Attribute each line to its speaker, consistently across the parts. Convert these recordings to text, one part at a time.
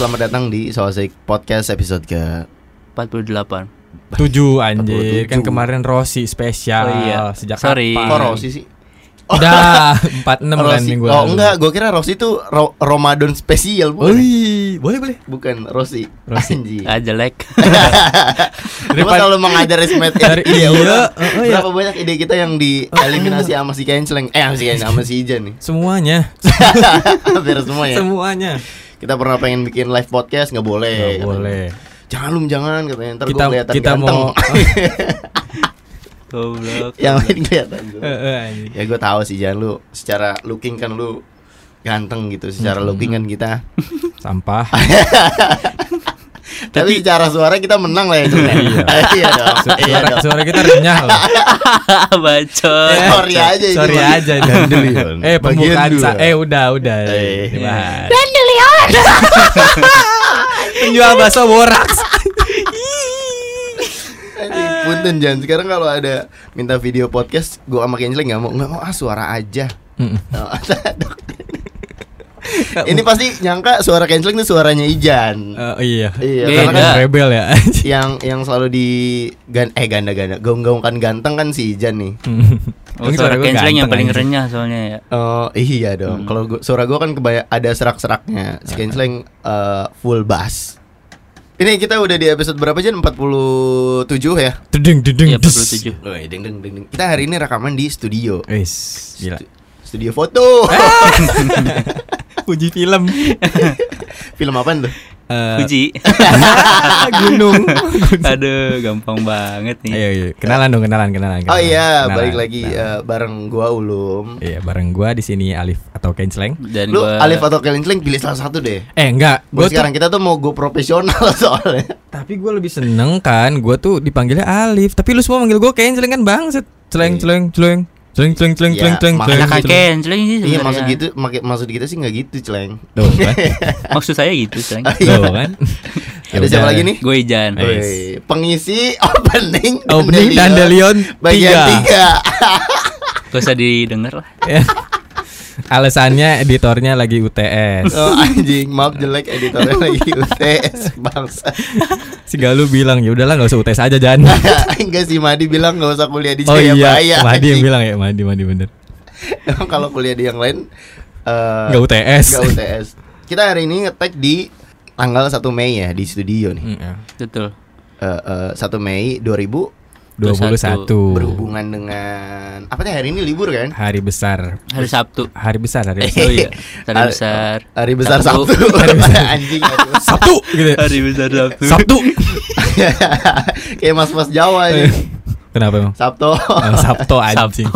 Speaker 1: selamat datang di Sosik Podcast episode ke
Speaker 2: 48
Speaker 3: Tujuh anjir
Speaker 1: 47.
Speaker 3: Kan kemarin Rossi spesial
Speaker 2: Oh iya.
Speaker 3: Sejak
Speaker 2: Sorry.
Speaker 3: kapan?
Speaker 1: Kok Oh, Rossi sih?
Speaker 3: Udah 46 kan
Speaker 1: Rossi.
Speaker 3: minggu
Speaker 1: Oh
Speaker 3: lalu.
Speaker 1: enggak, gue kira Rossi itu Ro- Ramadan spesial bukan? ya?
Speaker 3: Wih, boleh boleh
Speaker 1: Bukan Rossi.
Speaker 3: Rossi.
Speaker 1: Anjing.
Speaker 2: Ah jelek
Speaker 1: Cuma
Speaker 3: Daripada-
Speaker 1: kalau mengajari smet
Speaker 3: Dari-
Speaker 1: ide
Speaker 3: iya,
Speaker 1: orang,
Speaker 3: eh, eh,
Speaker 1: berapa banyak ide kita yang dieliminasi sama si Kenceleng Eh sama si Kenceleng, sama si Ijan nih
Speaker 3: Semuanya
Speaker 1: Hampir semua ya
Speaker 3: Semuanya
Speaker 1: Kita pernah pengen bikin live podcast nggak boleh
Speaker 3: Nggak
Speaker 1: katanya.
Speaker 3: boleh
Speaker 1: Jangan lum jangan katanya Ntar gue
Speaker 3: Kita-
Speaker 1: kelihatan
Speaker 3: kita
Speaker 1: ganteng
Speaker 3: mau-
Speaker 2: Goblok
Speaker 1: Yang lain kelihatan
Speaker 3: Eh, eh, anjing.
Speaker 1: Ya gue tahu sih Jan lu Secara looking kan lu Ganteng gitu
Speaker 3: Hmm.
Speaker 1: Secara looking kan kita
Speaker 3: Sampah
Speaker 1: Eh, Tapi secara suara kita menang lah ya Jun, ya. Iya dong Iya
Speaker 3: suara,
Speaker 1: dong
Speaker 3: suara kita renyah loh
Speaker 2: Ah, Bacot
Speaker 1: Eh, Sorry aja ini,
Speaker 3: Sorry
Speaker 1: Bang.
Speaker 3: aja
Speaker 1: Dan
Speaker 3: ini.
Speaker 1: dulu, Yon.
Speaker 3: Eh pembukaan
Speaker 1: Bagian
Speaker 3: sa-
Speaker 1: dua.
Speaker 3: Eh udah udah
Speaker 1: Eh.
Speaker 3: Dibahas. Penjual bakso boraks
Speaker 1: Anjing, Punten Jan, sekarang kalau ada minta video podcast, gua sama Kenjel nggak mau nggak mau ah suara aja.
Speaker 3: Mm-mm.
Speaker 1: Oh, dok. Ini pasti nyangka suara Kenjel itu suaranya Ijan.
Speaker 3: Eh, Iya
Speaker 1: Iya,
Speaker 2: Beda.
Speaker 1: karena kan
Speaker 3: Kan Rebel ya anjing.
Speaker 1: yang yang selalu di gan eh ganda-ganda gaung-gaungkan ganteng kan si Ijan nih.
Speaker 2: Oh,
Speaker 3: Mungkin
Speaker 2: Suara
Speaker 3: gua
Speaker 2: canceling yang
Speaker 3: ganteng,
Speaker 2: paling
Speaker 3: anjing.
Speaker 2: renyah soalnya ya
Speaker 1: Oh iya dong. Kalau gua, suara gua kan kebaya ada serak-seraknya. Si Kenjel eh, full bass. Ini kita udah di episode berapa Jan? 47 ya.
Speaker 3: Dedeng dedeng
Speaker 2: Iya
Speaker 3: des.
Speaker 2: 47
Speaker 1: Woi, deng deng deng deng. Kita hari ini rekaman di studio.
Speaker 3: Wis, gila.
Speaker 1: Stu- Studio foto.
Speaker 3: Puji film.
Speaker 1: Film apaan tuh?
Speaker 3: Eh,
Speaker 2: Puji
Speaker 3: gunung.
Speaker 2: Ah. Aduh gampang banget
Speaker 3: Ayo,
Speaker 2: nih
Speaker 3: ayo, kenalan dong, kenalan, kenalan.
Speaker 1: Oh
Speaker 3: kenalan,
Speaker 1: iya,
Speaker 3: kenalan,
Speaker 1: balik lagi
Speaker 3: kenalan.
Speaker 1: eh, bareng gua Ulum.
Speaker 3: Iya, bareng gua di sini Alif atau Kenceleng.
Speaker 2: Dan
Speaker 1: Lu
Speaker 2: gua
Speaker 1: Alif atau Kelingkling pilih salah satu deh.
Speaker 3: Eh, enggak.
Speaker 1: Gua
Speaker 3: Gua
Speaker 1: sekarang
Speaker 3: tuh,
Speaker 1: kita tuh mau go profesional soalnya.
Speaker 3: tapi gua lebih seneng kan. Gua tuh dipanggilnya Alif, tapi lu semua manggil gua Kenceleng kan, Bang. Celeng,
Speaker 1: Iya.
Speaker 3: celeng, celeng. Celeng, celeng, celeng,
Speaker 1: Iya,
Speaker 3: celeng, celeng.
Speaker 1: makanya
Speaker 3: celeng,
Speaker 2: Anak
Speaker 3: celeng.
Speaker 2: canceling sih
Speaker 1: Iya,
Speaker 2: sebenarnya.
Speaker 1: maksud gitu, maki- maksud kita sih nggak gitu, Celeng.
Speaker 3: Tuh kan.
Speaker 2: Maksud saya gitu Celeng
Speaker 1: Ah, iya.
Speaker 3: Tuh kan. Ya
Speaker 1: Ada siapa
Speaker 3: udah.
Speaker 1: lagi nih?
Speaker 2: Gue Ijan
Speaker 3: Eh.
Speaker 1: Woi, pengisi opening
Speaker 3: Opening Dandelion
Speaker 1: bagian
Speaker 3: 3.
Speaker 1: 3.
Speaker 2: Gak usah didengar lah
Speaker 3: Ya. Alasannya editornya lagi UTS.
Speaker 1: Oh, anjing, maaf jelek editornya lagi UTS bangsa.
Speaker 3: Si Galuh bilang, "Ya udahlah, nggak usah UTS aja, Jan."
Speaker 1: Enggak sih Madi bilang nggak usah kuliah di
Speaker 3: Oh
Speaker 1: Jayabaya.
Speaker 3: iya, Madi
Speaker 1: anjing.
Speaker 3: yang bilang ya, Madi, Madi bener.
Speaker 1: Emang kalau kuliah di yang lain eh,
Speaker 3: Enggak UTS.
Speaker 1: nggak UTS. Kita hari ini ngetek di tanggal 1 Mei ya di studio nih.
Speaker 3: Mm, ya.
Speaker 2: Betul
Speaker 1: Eh, eh, 1 Mei 2000
Speaker 3: 21
Speaker 1: berhubungan dengan apa teh hari ini libur kan?
Speaker 3: hari besar.
Speaker 2: Hari Sabtu
Speaker 3: Hari besar, hari besar.
Speaker 2: Oh iya Hari
Speaker 1: Hari-
Speaker 2: besar
Speaker 1: Hari besar Sabtu.
Speaker 2: Sabtu.
Speaker 1: anjing. hari besar.
Speaker 3: Sabtu gitu.
Speaker 2: Hari besar Sabtu
Speaker 3: Sabtu.
Speaker 1: Kayak mas-mas Jawa
Speaker 3: Eh.
Speaker 1: ini.
Speaker 3: Kenapa emang?
Speaker 1: Sabtu.
Speaker 3: Eh, Sabtu anjing.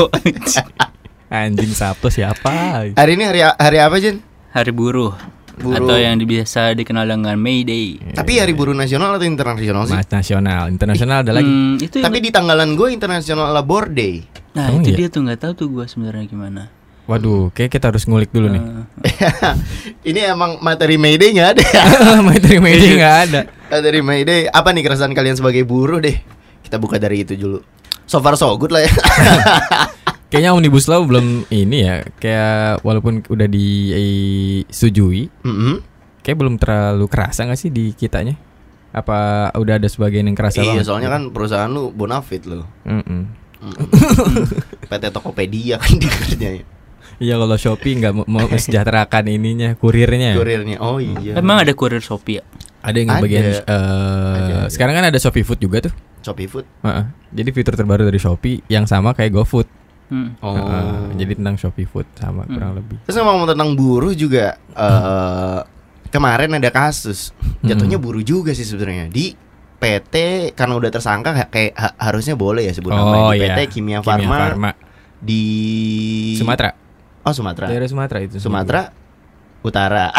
Speaker 2: Sabtu
Speaker 3: Anjing Sabtu siapa?
Speaker 1: Hari ini hari hari apa
Speaker 3: Eh.
Speaker 1: Jin?
Speaker 2: Hari buruh
Speaker 1: Buruh.
Speaker 2: Atau yang biasa dikenal dengan May Day
Speaker 1: Tapi hari buruh nasional atau internasional sih?
Speaker 3: Mas nasional, internasional ada lagi.
Speaker 2: Hmm, itu yang-
Speaker 1: Tapi di tanggalan gue internasional Labor Day.
Speaker 2: nah
Speaker 3: Emang
Speaker 2: itu
Speaker 3: iya?
Speaker 2: dia tuh nggak tahu tuh gua sebenarnya gimana.
Speaker 3: Waduh, kayak kita harus ngulik dulu nih.
Speaker 1: ini emang materi May Day nggak ada.
Speaker 3: Materi media nggak ada.
Speaker 1: Dari May Day apa nih keresahan kalian sebagai buruh deh? Kita buka dari itu dulu. So far so good lah ya.
Speaker 3: Kayaknya omnibus law belum ini ya. Kayak walaupun udah eh, disetujui,
Speaker 1: Mhm.
Speaker 3: kayak belum terlalu kerasa nggak sih di kitanya? Apa udah ada sebagian yang kerasa
Speaker 1: Iya,
Speaker 3: banget?
Speaker 1: soalnya kan perusahaan lu bonafit lu.
Speaker 3: Mm-mm.
Speaker 1: Mhm. PT Tokopedia kan dia kerjanya.
Speaker 3: Iya kalau Shopee nggak mau- mau mensejahterakan ininya kurirnya.
Speaker 1: Kurirnya. Oh iya.
Speaker 2: Emang ada kurir Shopee ya?
Speaker 3: Ada yang
Speaker 1: Ada.
Speaker 3: bagian eh,
Speaker 1: Ada, ada.
Speaker 3: sekarang kan ada Shopee Food juga tuh.
Speaker 1: Shopee Food.
Speaker 3: Heeh. Jadi fitur terbaru dari Shopee yang sama kayak GoFood.
Speaker 2: Hmm.
Speaker 1: Oh. Hmm.
Speaker 3: Heeh. Jadi tentang Shopee Food sama kurang lebih.
Speaker 1: Terus ngomong tentang buruh juga eh kemarin ada kasus jatuhnya buruh juga sih sebenarnya di PT karena udah tersangka ha- kayak ha- harusnya boleh ya sebut namanya di PT Kimia, Farma, di
Speaker 3: Sumatera.
Speaker 1: Oh Sumatera.
Speaker 3: Daerah Sumatera itu.
Speaker 1: Sumatera Utara.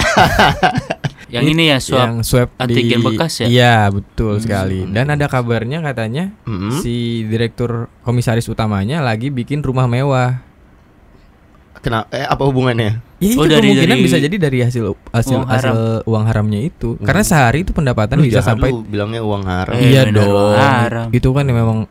Speaker 2: Yang ini ya
Speaker 3: Swab. Yang
Speaker 2: swab.
Speaker 3: swab
Speaker 2: antigen
Speaker 3: di-
Speaker 2: bekas ya?
Speaker 3: Iya, betul
Speaker 2: Hmm.
Speaker 3: sekali. Dan ada kabarnya katanya
Speaker 1: Mhm.
Speaker 3: si direktur komisaris utamanya lagi bikin rumah mewah.
Speaker 1: Kenapa? Eh, apa hubungannya?
Speaker 3: Ya itu
Speaker 2: Oh, dari-
Speaker 3: kemungkinan
Speaker 2: dari
Speaker 3: bisa jadi dari hasil hasil
Speaker 2: uang
Speaker 3: uang hasil uang haramnya itu. Karena sehari itu pendapatan
Speaker 1: Lu
Speaker 3: bisa
Speaker 1: jahat
Speaker 3: sampai
Speaker 1: lu bilangnya uang haram.
Speaker 2: Eh,
Speaker 3: Iya
Speaker 2: bener,
Speaker 3: dong.
Speaker 2: uang haram.
Speaker 3: Itu kan memang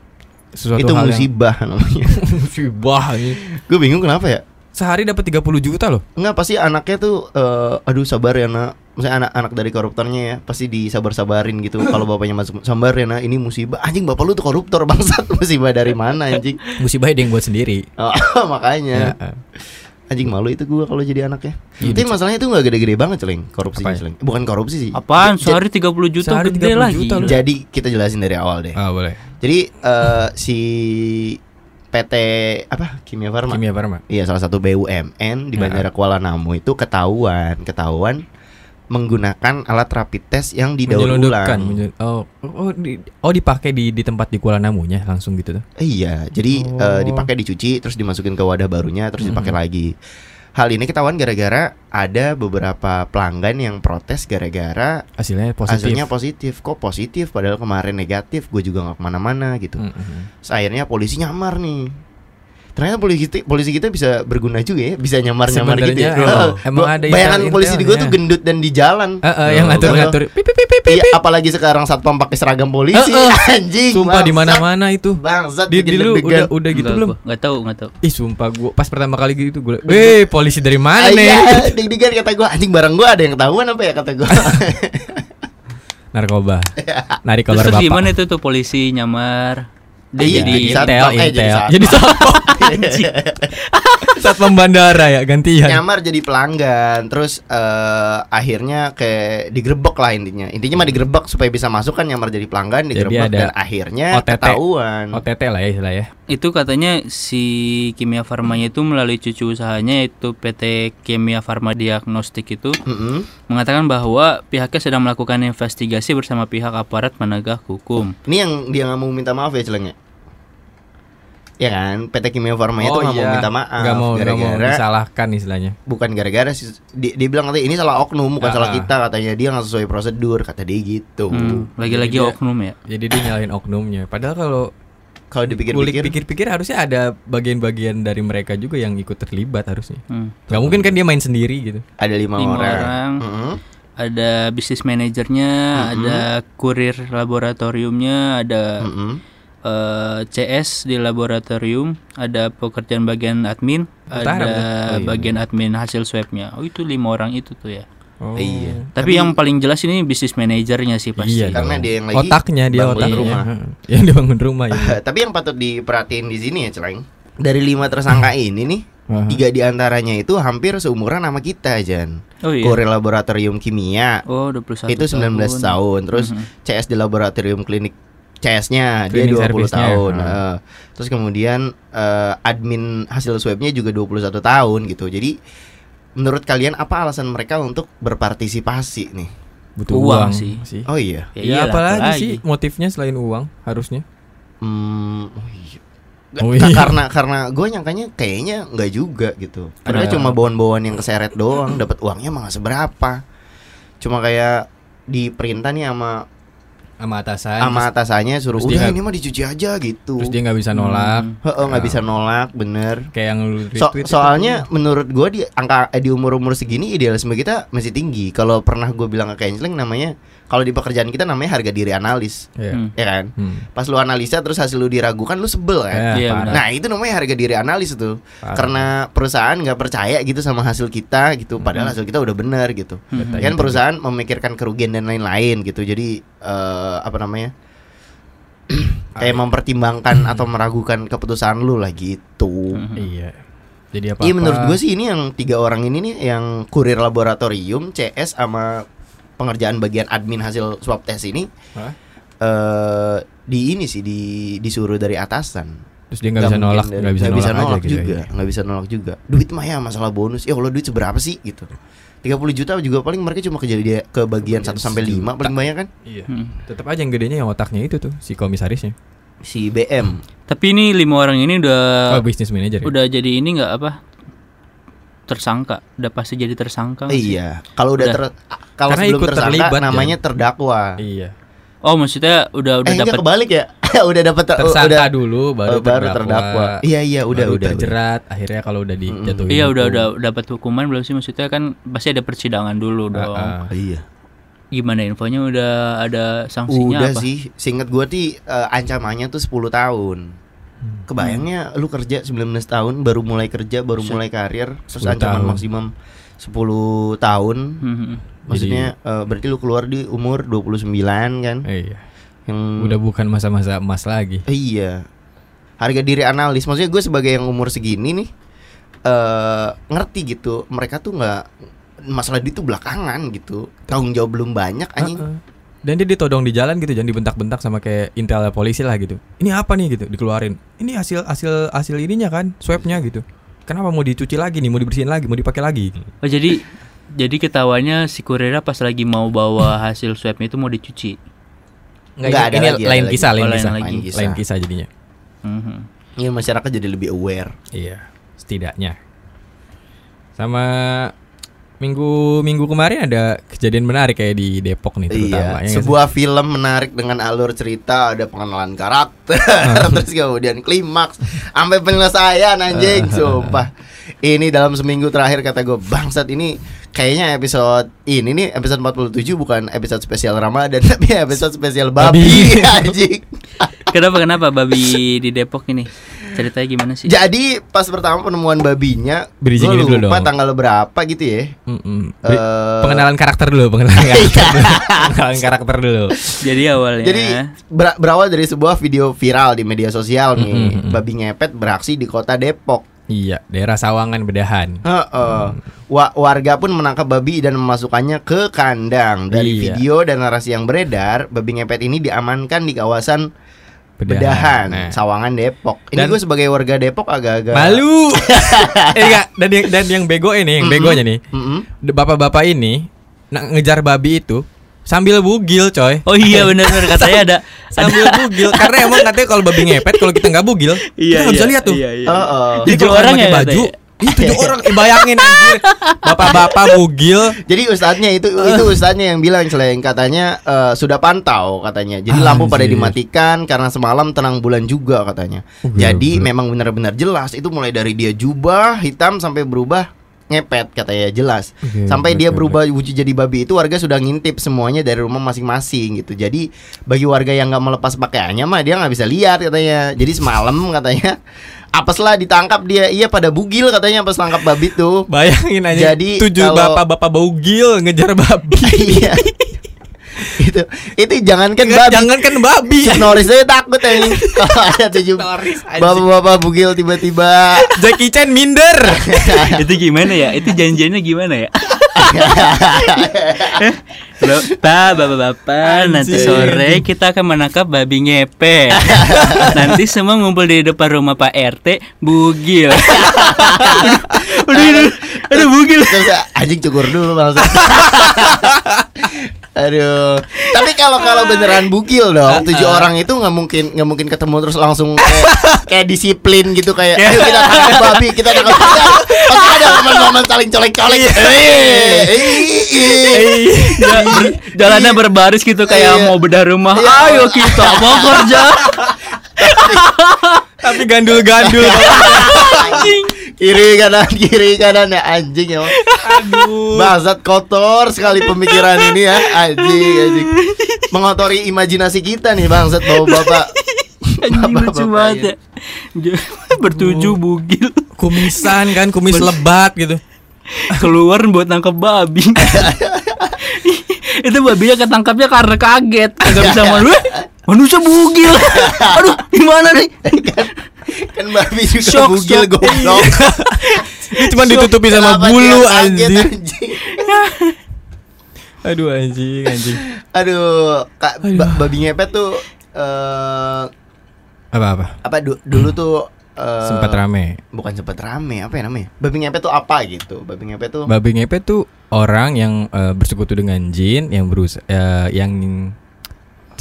Speaker 3: sesuatu
Speaker 1: itu
Speaker 3: hal yang
Speaker 1: musibah namanya.
Speaker 3: musibah ini.
Speaker 1: Gue bingung kenapa ya?
Speaker 3: sehari dapat 30 juta loh.
Speaker 1: Enggak pasti anaknya tuh eh, aduh sabar ya nak Maksudnya anak-anak dari koruptornya ya Pasti disabar-sabarin gitu Kalau bapaknya masuk Sabar ya nak ini musibah Anjing bapak lu tuh koruptor bangsat Musibah dari mana anjing
Speaker 3: Musibah dia yang buat sendiri.
Speaker 1: Oh, Makanya
Speaker 3: Ya, eh.
Speaker 1: Anjing malu itu gua kalau jadi anaknya
Speaker 3: Iya,
Speaker 1: Tapi masalahnya itu gak gede-gede banget celeng Korupsi
Speaker 3: Apanya?
Speaker 1: celeng Bukan korupsi sih
Speaker 2: Apaan? Sehari 30 juta
Speaker 3: Sehari
Speaker 2: gede
Speaker 3: 30
Speaker 2: lagi.
Speaker 3: juta loh.
Speaker 1: Jadi kita jelasin dari awal deh
Speaker 3: Ah, boleh.
Speaker 1: Jadi eh, si PT apa Kimia Farma
Speaker 3: Kimia Parma.
Speaker 1: Iya salah satu BUMN di
Speaker 3: Ya.
Speaker 1: Bandara Kuala Namu itu ketahuan ketahuan menggunakan alat rapid test yang didaur
Speaker 3: Menyelundupkan.
Speaker 1: ulang.
Speaker 3: menye- Oh, oh, di- oh dipakai di di tempat di Kuala Namunya langsung gitu tuh.
Speaker 1: Iya, jadi
Speaker 3: Oh. Hmm.
Speaker 1: eh, dipakai dicuci terus dimasukin ke wadah barunya terus dipakai lagi. Hal ini ketahuan gara-gara ada beberapa pelanggan yang protes gara-gara
Speaker 3: Hasilnya positif.
Speaker 1: hasilnya positif. Kok positif padahal kemarin negatif, gue juga nggak kemana-mana gitu.
Speaker 3: Mm, mm, mm.
Speaker 1: Terus akhirnya polisi nyamar nih. Ternyata polisi kita, polisi kita bisa berguna juga ya, bisa nyamar-nyamar gitu. Ya.
Speaker 3: Sebenarnya,
Speaker 1: Heeh.
Speaker 3: oh, emang
Speaker 1: Gua-
Speaker 3: ada
Speaker 1: bayangan
Speaker 3: intel-
Speaker 1: polisi di gue tuh
Speaker 3: intelnya.
Speaker 1: gendut dan di jalan.
Speaker 3: Eh, eh, yang
Speaker 2: Oh,
Speaker 3: ngatur-ngatur. Pip, pip, pip, pip, pip.
Speaker 1: Iya, apalagi sekarang satpam pakai seragam polisi,
Speaker 3: Eh,
Speaker 1: anjing. bangsat.
Speaker 3: Sumpah di mana-mana itu.
Speaker 1: Bangsat
Speaker 3: Di, di lu udah
Speaker 1: deg-degan.
Speaker 3: udah gitu
Speaker 2: Enggak,
Speaker 3: belum?
Speaker 2: gua Enggak tahu, enggak tahu.
Speaker 3: Ih sumpah gua pas pertama kali gitu gue Weh polisi dari mana nih?
Speaker 1: Iya, deg-degan kata gue anjing barang gue ada yang ketahuan apa ya kata gue.
Speaker 3: Narkoba
Speaker 1: Iya.
Speaker 3: Narik
Speaker 2: Terus,
Speaker 3: kolor
Speaker 2: terus
Speaker 3: bapak
Speaker 2: gimana itu tuh polisi nyamar? Dia
Speaker 1: Iya,
Speaker 2: jadi
Speaker 1: jadi
Speaker 3: Intel,
Speaker 1: satpam, eh, jadi
Speaker 3: intel
Speaker 1: satpam.
Speaker 3: Jadi satpam Satpam bandara ya gantian
Speaker 1: Nyamar jadi pelanggan, terus eh, akhirnya kayak digerebek lah intinya. Intinya mah digerebek supaya bisa masuk kan nyamar jadi pelanggan
Speaker 3: Jadi
Speaker 1: digerebek
Speaker 3: ada
Speaker 1: dan akhirnya
Speaker 3: OTT.
Speaker 1: ketahuan.
Speaker 3: OTT lah ya istilah ya
Speaker 2: Itu katanya si Kimia Farmanya itu melalui cucu usahanya yaitu PT Kimia Farma Diagnostik itu
Speaker 1: Mm-mm.
Speaker 2: mengatakan bahwa pihaknya sedang melakukan investigasi bersama pihak aparat penegak hukum.
Speaker 1: Ini yang dia nggak mau minta maaf ya celengnya. Ya kan, PT Kimia Farma itu nggak mau minta maaf
Speaker 3: Gak mau, Oh, iya. nggak mau
Speaker 1: gara-gara
Speaker 3: disalahkan istilahnya
Speaker 1: bukan gara-gara sih dia, dia bilang katanya ini salah oknum bukan
Speaker 3: Ah.
Speaker 1: salah kita katanya dia nggak sesuai prosedur kata dia gitu.
Speaker 2: Hmm, lagi-lagi
Speaker 3: Jadi dia-
Speaker 2: oknum ya.
Speaker 3: Jadi dia nyalahin oknumnya Padahal kalau
Speaker 1: Kalau
Speaker 3: kulik
Speaker 1: dipikir-pikir
Speaker 3: pikir-pikir harusnya ada bagian-bagian dari mereka juga yang ikut terlibat harusnya
Speaker 2: Hmm.
Speaker 3: Gak mungkin kan dia main sendiri gitu
Speaker 1: ada lima,
Speaker 2: Lima
Speaker 1: orang.
Speaker 2: orang.
Speaker 1: Mm-mm.
Speaker 2: Ada bisnis manajernya,
Speaker 3: Mm-hmm.
Speaker 2: ada kurir laboratoriumnya,
Speaker 3: Mm.
Speaker 2: ada
Speaker 1: Mm-mm.
Speaker 2: eh, CS di laboratorium, ada pekerjaan bagian admin,
Speaker 3: Bentar,
Speaker 2: ada
Speaker 3: bentar. Oh, iya.
Speaker 2: bagian admin hasil swabnya. Oh itu lima orang itu tuh ya.
Speaker 3: Oh
Speaker 1: Iya.
Speaker 2: Tapi, yang paling jelas ini bisnis manajernya sih pasti.
Speaker 3: Iya
Speaker 1: Karena
Speaker 3: dong.
Speaker 1: dia yang lagi
Speaker 3: Otaknya dia
Speaker 1: bangun
Speaker 3: otaknya
Speaker 1: rumah.
Speaker 3: Heeh. Yang dibangun rumah ya
Speaker 1: Tapi yang patut diperhatiin di sini ya Celeng Dari lima tersangka ini nih
Speaker 3: Hmm. Aha.
Speaker 1: Tiga diantaranya itu hampir seumuran sama kita Jan
Speaker 2: Oh iya.
Speaker 1: Korea Laboratorium Kimia
Speaker 2: Oh 21
Speaker 1: Itu 19 tahun, Terus CS di Laboratorium Klinik CS-nya Dia
Speaker 3: Mm-hmm. Klinik
Speaker 1: 20
Speaker 3: service-nya,
Speaker 1: tahun
Speaker 3: ha.
Speaker 1: Eh, Terus kemudian eh, admin hasil swabnya juga 21 tahun gitu Jadi menurut kalian apa alasan mereka untuk berpartisipasi nih?
Speaker 3: Butuh
Speaker 2: Uang
Speaker 3: uang,
Speaker 2: sih.
Speaker 3: sih
Speaker 1: Oh iya
Speaker 2: Ya,
Speaker 3: Ya,
Speaker 2: iyalah,
Speaker 3: apalagi
Speaker 2: apalagi.
Speaker 3: sih motifnya selain uang harusnya.
Speaker 1: Hmm, oh iya.
Speaker 3: Oh
Speaker 1: Ka-
Speaker 3: iya.
Speaker 1: karena karena gue nyangkanya kayaknya nggak juga gitu. Padahal
Speaker 3: Ada-
Speaker 1: cuma bawon-bawon yang keseret doang, dapat uangnya mah nggak seberapa. Cuma kayak di perintah nih sama
Speaker 3: Sama atasan.
Speaker 1: sama atasannya suruh
Speaker 3: terus dia
Speaker 1: udah
Speaker 3: nggak-
Speaker 1: ini mah dicuci aja gitu.
Speaker 3: Terus dia nggak bisa nolak.
Speaker 2: Hmm.
Speaker 1: Heeh, nggak bisa nolak, bener.
Speaker 3: Kayak yang lu
Speaker 1: So-
Speaker 3: Iya. retweet. itu.
Speaker 1: soalnya menurut gue di angka eh, di umur-umur segini idealisme kita masih tinggi. Kalau pernah gue bilang ke Kenjling namanya kalau di pekerjaan kita namanya harga diri analis,
Speaker 3: Iya.
Speaker 2: Hmm.
Speaker 1: ya kan?
Speaker 3: Hmm.
Speaker 1: Pas lu analisa terus hasil lu diragukan lu sebel kan?
Speaker 3: Ya,
Speaker 2: Iya,
Speaker 3: parah.
Speaker 1: Nah itu namanya harga diri analis itu
Speaker 3: Parah.
Speaker 1: Karena perusahaan nggak percaya gitu sama hasil kita gitu
Speaker 3: Hmm.
Speaker 1: Padahal hasil kita udah bener gitu
Speaker 3: Nah,
Speaker 2: Mhm.
Speaker 1: Kan perusahaan memikirkan kerugian dan lain-lain gitu Jadi eh, apa namanya Kayak mempertimbangkan atau meragukan keputusan lu lah gitu
Speaker 2: Mhm.
Speaker 3: Iya. Jadi apa?
Speaker 1: Iya menurut gue sih ini yang tiga orang ini nih Yang kurir laboratorium, CS sama pengerjaan bagian admin hasil swab test ini eh di ini sih di disuruh dari atasan
Speaker 3: Terus dia nggak bisa
Speaker 1: mungkin
Speaker 3: nolak,
Speaker 1: dari-
Speaker 3: nggak bisa,
Speaker 1: nggak bisa
Speaker 3: nolak,
Speaker 1: nolak,
Speaker 3: aja gitu
Speaker 1: juga,
Speaker 3: ya.
Speaker 1: nggak bisa nolak juga. Duit mah ya masalah bonus. Ya Allah duit seberapa sih gitu. 30 juta juga paling mereka cuma kerja dia ke bagian 1 sampai 5 paling banyak kan
Speaker 3: Iya.
Speaker 2: Hmm.
Speaker 3: Tetap aja yang gedenya yang otaknya itu tuh si komisarisnya.
Speaker 1: si BM.
Speaker 2: Tapi ini lima orang ini udah
Speaker 1: Eh,
Speaker 3: oh, bisnis manager. Ya?
Speaker 2: udah jadi ini nggak apa tersangka, udah pasti jadi tersangka. nggak sih?
Speaker 1: iya, kalau udah
Speaker 2: Udah.
Speaker 1: ter- kalau
Speaker 3: Karena
Speaker 1: sebelum
Speaker 3: ikut
Speaker 1: tersangka
Speaker 3: terlibat, ya.
Speaker 1: namanya terdakwa.
Speaker 3: Iya.
Speaker 2: Oh maksudnya udah udah
Speaker 1: eh enggak
Speaker 2: dapat
Speaker 1: kebalik ya. udah dapat
Speaker 3: Tersangka
Speaker 1: udah
Speaker 3: dulu baru,
Speaker 1: eh, baru terdakwa. Iya iya udah
Speaker 3: baru
Speaker 1: udah. udah.
Speaker 3: terjerat akhirnya kalau udah dijatuhin.
Speaker 2: Iya udah
Speaker 3: hukum.
Speaker 2: udah dapat hukuman belum sih maksudnya kan pasti ada persidangan dulu
Speaker 3: Ah,
Speaker 2: dong.
Speaker 3: ah.
Speaker 1: Iya.
Speaker 2: Gimana infonya udah ada sanksinya
Speaker 1: udah
Speaker 2: apa?
Speaker 1: sih, seingat gua sih eh, ancamannya tuh 10 tahun.
Speaker 3: Hmm.
Speaker 1: Kebayangnya lu kerja 19 tahun baru mulai kerja, baru mulai karir, terus
Speaker 3: 10
Speaker 1: ancaman
Speaker 3: tahun.
Speaker 1: maksimum 10 tahun.
Speaker 2: Mhm.
Speaker 1: Maksudnya eh, berarti lu keluar di umur 29 kan?
Speaker 3: Iya.
Speaker 1: Yang
Speaker 3: Udah bukan masa-masa emas lagi.
Speaker 1: Iya. Harga diri analis. Maksudnya gue sebagai yang umur segini nih eh ngerti gitu. Mereka tuh nggak masalah di tuh belakangan gitu. Tanggung jawab belum banyak anjing.
Speaker 3: Heeh. Dan dia ditodong di jalan gitu, jangan dibentak-bentak sama kayak intel polisi lah gitu. Ini apa nih gitu, dikeluarin. Ini hasil hasil hasil ininya kan, swabnya gitu. Kenapa mau dicuci lagi nih, mau dibersihin lagi, mau dipakai lagi?
Speaker 2: Oh jadi jadi ketawanya si kurirnya pas lagi mau bawa hasil swabnya itu mau dicuci.
Speaker 1: Nggak,
Speaker 3: Nggak,
Speaker 1: ada
Speaker 3: ini
Speaker 1: lagi,
Speaker 3: lain
Speaker 1: ada
Speaker 3: kisah,
Speaker 1: lagi.
Speaker 3: lain
Speaker 2: Oh, lain
Speaker 3: kisah,
Speaker 2: lagi.
Speaker 3: lain kisah. Lain kisah jadinya.
Speaker 2: Mhm.
Speaker 1: Ini Ya, masyarakat jadi lebih aware.
Speaker 3: Iya, setidaknya. Sama minggu minggu kemarin ada kejadian menarik kayak di Depok nih terutama.
Speaker 1: Iya.
Speaker 3: ya nggak sih?
Speaker 1: Sebuah film menarik dengan alur cerita, ada pengenalan karakter, terus kemudian klimaks, sampai penyelesaian anjing, sumpah. Ini dalam seminggu terakhir kata gue bangsat ini kayaknya episode ini nih episode 47 bukan episode spesial Ramadan tapi episode spesial babi
Speaker 3: Babi.
Speaker 1: anjing.
Speaker 2: Kenapa kenapa babi di Depok ini? Ceritanya gimana sih?
Speaker 1: Jadi pas pertama penemuan babinya
Speaker 3: Beri
Speaker 1: gue
Speaker 3: izin dulu
Speaker 1: lupa
Speaker 3: dong.
Speaker 1: tanggal berapa gitu ya.
Speaker 3: Mm-mm. Beri-
Speaker 1: Eh,
Speaker 3: pengenalan karakter dulu, pengenalan
Speaker 2: Iya.
Speaker 3: karakter. dulu. pengenalan karakter dulu.
Speaker 2: Jadi awalnya
Speaker 1: Jadi ber- berawal dari sebuah video viral di media sosial nih,
Speaker 3: Mm, mm, mm.
Speaker 1: babi ngepet beraksi di kota Depok.
Speaker 3: Iya, daerah Sawangan Bedahan.
Speaker 1: Heeh. Wa- warga pun menangkap babi dan memasukkannya ke kandang. Dari
Speaker 3: Iya.
Speaker 1: video dan narasi yang beredar, babi ngepet ini diamankan di kawasan Bedahan,
Speaker 3: Bedahan. Nah.
Speaker 1: Sawangan Depok. Ini
Speaker 3: Dan-
Speaker 1: gue sebagai warga Depok agak-agak
Speaker 3: Malu. eh enggak, dan yang, dan yang bego ini, yang begonya nih.
Speaker 1: Mm-mm.
Speaker 3: De- Bapak-bapak ini na- ngejar babi itu sambil bugil, coy.
Speaker 2: Oh iya benar-benar katanya ada
Speaker 3: Sambil bugil karena emang katanya kalau babi ngepet kalau kita nggak bugil, kita nggak bisa lihat tuh.
Speaker 2: Iya, iya.
Speaker 1: Heeh.
Speaker 3: Jadi
Speaker 2: Tujuh orang
Speaker 3: kalau orang oh. pakai
Speaker 2: ya
Speaker 3: baju,
Speaker 2: katanya?
Speaker 3: ih tujuh orang, eh, bayangin anjir. Bapak-bapak bugil.
Speaker 1: Jadi ustadznya itu itu ustadznya yang bilang selain katanya eh, sudah pantau katanya. Jadi lampu pada
Speaker 3: Anjir.
Speaker 1: dimatikan karena semalam terang bulan juga katanya.
Speaker 3: Oh, gila,
Speaker 1: Jadi
Speaker 3: gila.
Speaker 1: memang benar-benar jelas itu mulai dari dia jubah hitam sampai berubah ngepet katanya jelas.
Speaker 3: Oke,
Speaker 1: sampai
Speaker 3: oke,
Speaker 1: dia
Speaker 3: oke.
Speaker 1: berubah wujud jadi babi itu warga sudah ngintip semuanya dari rumah masing-masing gitu. Jadi bagi warga yang nggak melepas pakaiannya mah dia nggak bisa lihat katanya. Jadi semalam katanya apeslah ditangkap dia iya pada bugil katanya pas tangkap babi tuh.
Speaker 3: Bayangin aja
Speaker 1: Jadi,
Speaker 3: tujuh
Speaker 1: kalau-
Speaker 3: bapak-bapak bugil ngejar babi.
Speaker 1: Iya. itu itu jangankan Iya,
Speaker 3: Jangan-
Speaker 1: babi.
Speaker 3: Jangan kan babi.
Speaker 1: Noris aja takut anjing. Kalau ada tujuh
Speaker 3: Noris, anjing.
Speaker 1: bapak-bapak bugil tiba-tiba.
Speaker 3: Jackie Chan minder.
Speaker 2: itu gimana ya? Itu janjiannya gimana ya? Eh, Bapak, bapak-bapak, nanti
Speaker 3: Anjing.
Speaker 2: sore kita akan menangkap babi ngepet. nanti semua ngumpul di depan rumah Pak RT, bugil. aduh, aduh, aduh, bugil.
Speaker 1: Terus anjing cukur dulu bangsa. Aduh. Tapi kalau kalau beneran bugil
Speaker 3: Ah,
Speaker 1: dong, tujuh orang itu nggak mungkin nggak mungkin ketemu terus langsung kayak, kayak disiplin gitu kayak ayo kita tangkap babi, kita tangkap babi. Pasti ada momen-momen saling colek-colek.
Speaker 3: Iya.
Speaker 1: Eh, eh, eh.
Speaker 2: Jal- ber- Jalannya berbaris gitu
Speaker 1: Iya.
Speaker 2: kayak mau bedah rumah. Ayo kita mau kerja.
Speaker 3: Tapi gandul-gandul.
Speaker 2: Anjing.
Speaker 1: kiri kanan kiri kanan ya anjing ya
Speaker 3: Aduh.
Speaker 1: Bangsat kotor sekali pemikiran ini ya anjing anjing mengotori imajinasi kita nih bangsat bawa bapak
Speaker 2: Anjing lucu
Speaker 1: Bapak-bapak,
Speaker 2: banget
Speaker 1: iya.
Speaker 2: ya. J- Bertujuh bugil
Speaker 3: Kumisan kan, kumis lebat gitu.
Speaker 2: keluar buat nangkep babi. itu babinya ketangkapnya karena kaget kagak bisa malu "Eh, manusia bugil aduh gimana nih
Speaker 1: kan babi juga
Speaker 2: Shock,
Speaker 1: bugil
Speaker 2: shock.
Speaker 1: goblok
Speaker 3: Ini cuma Iya, ditutupi sama
Speaker 1: Kenapa dia
Speaker 3: bulu
Speaker 1: kaget,
Speaker 3: anjing.
Speaker 1: anjing?
Speaker 3: Aduh anjing, anjing.
Speaker 1: aduh kak ba-
Speaker 3: Aduh.
Speaker 1: babi ngepet tuh eh
Speaker 3: Apa-apa?
Speaker 1: apa du- dulu tuh eh,
Speaker 3: Sempat rame.
Speaker 1: bukan sempat rame apa ya namanya babi ngepet tuh apa gitu babi ngepet tuh
Speaker 3: Babi ngepet tuh orang yang eh, bersekutu dengan jin yang berus eh, yang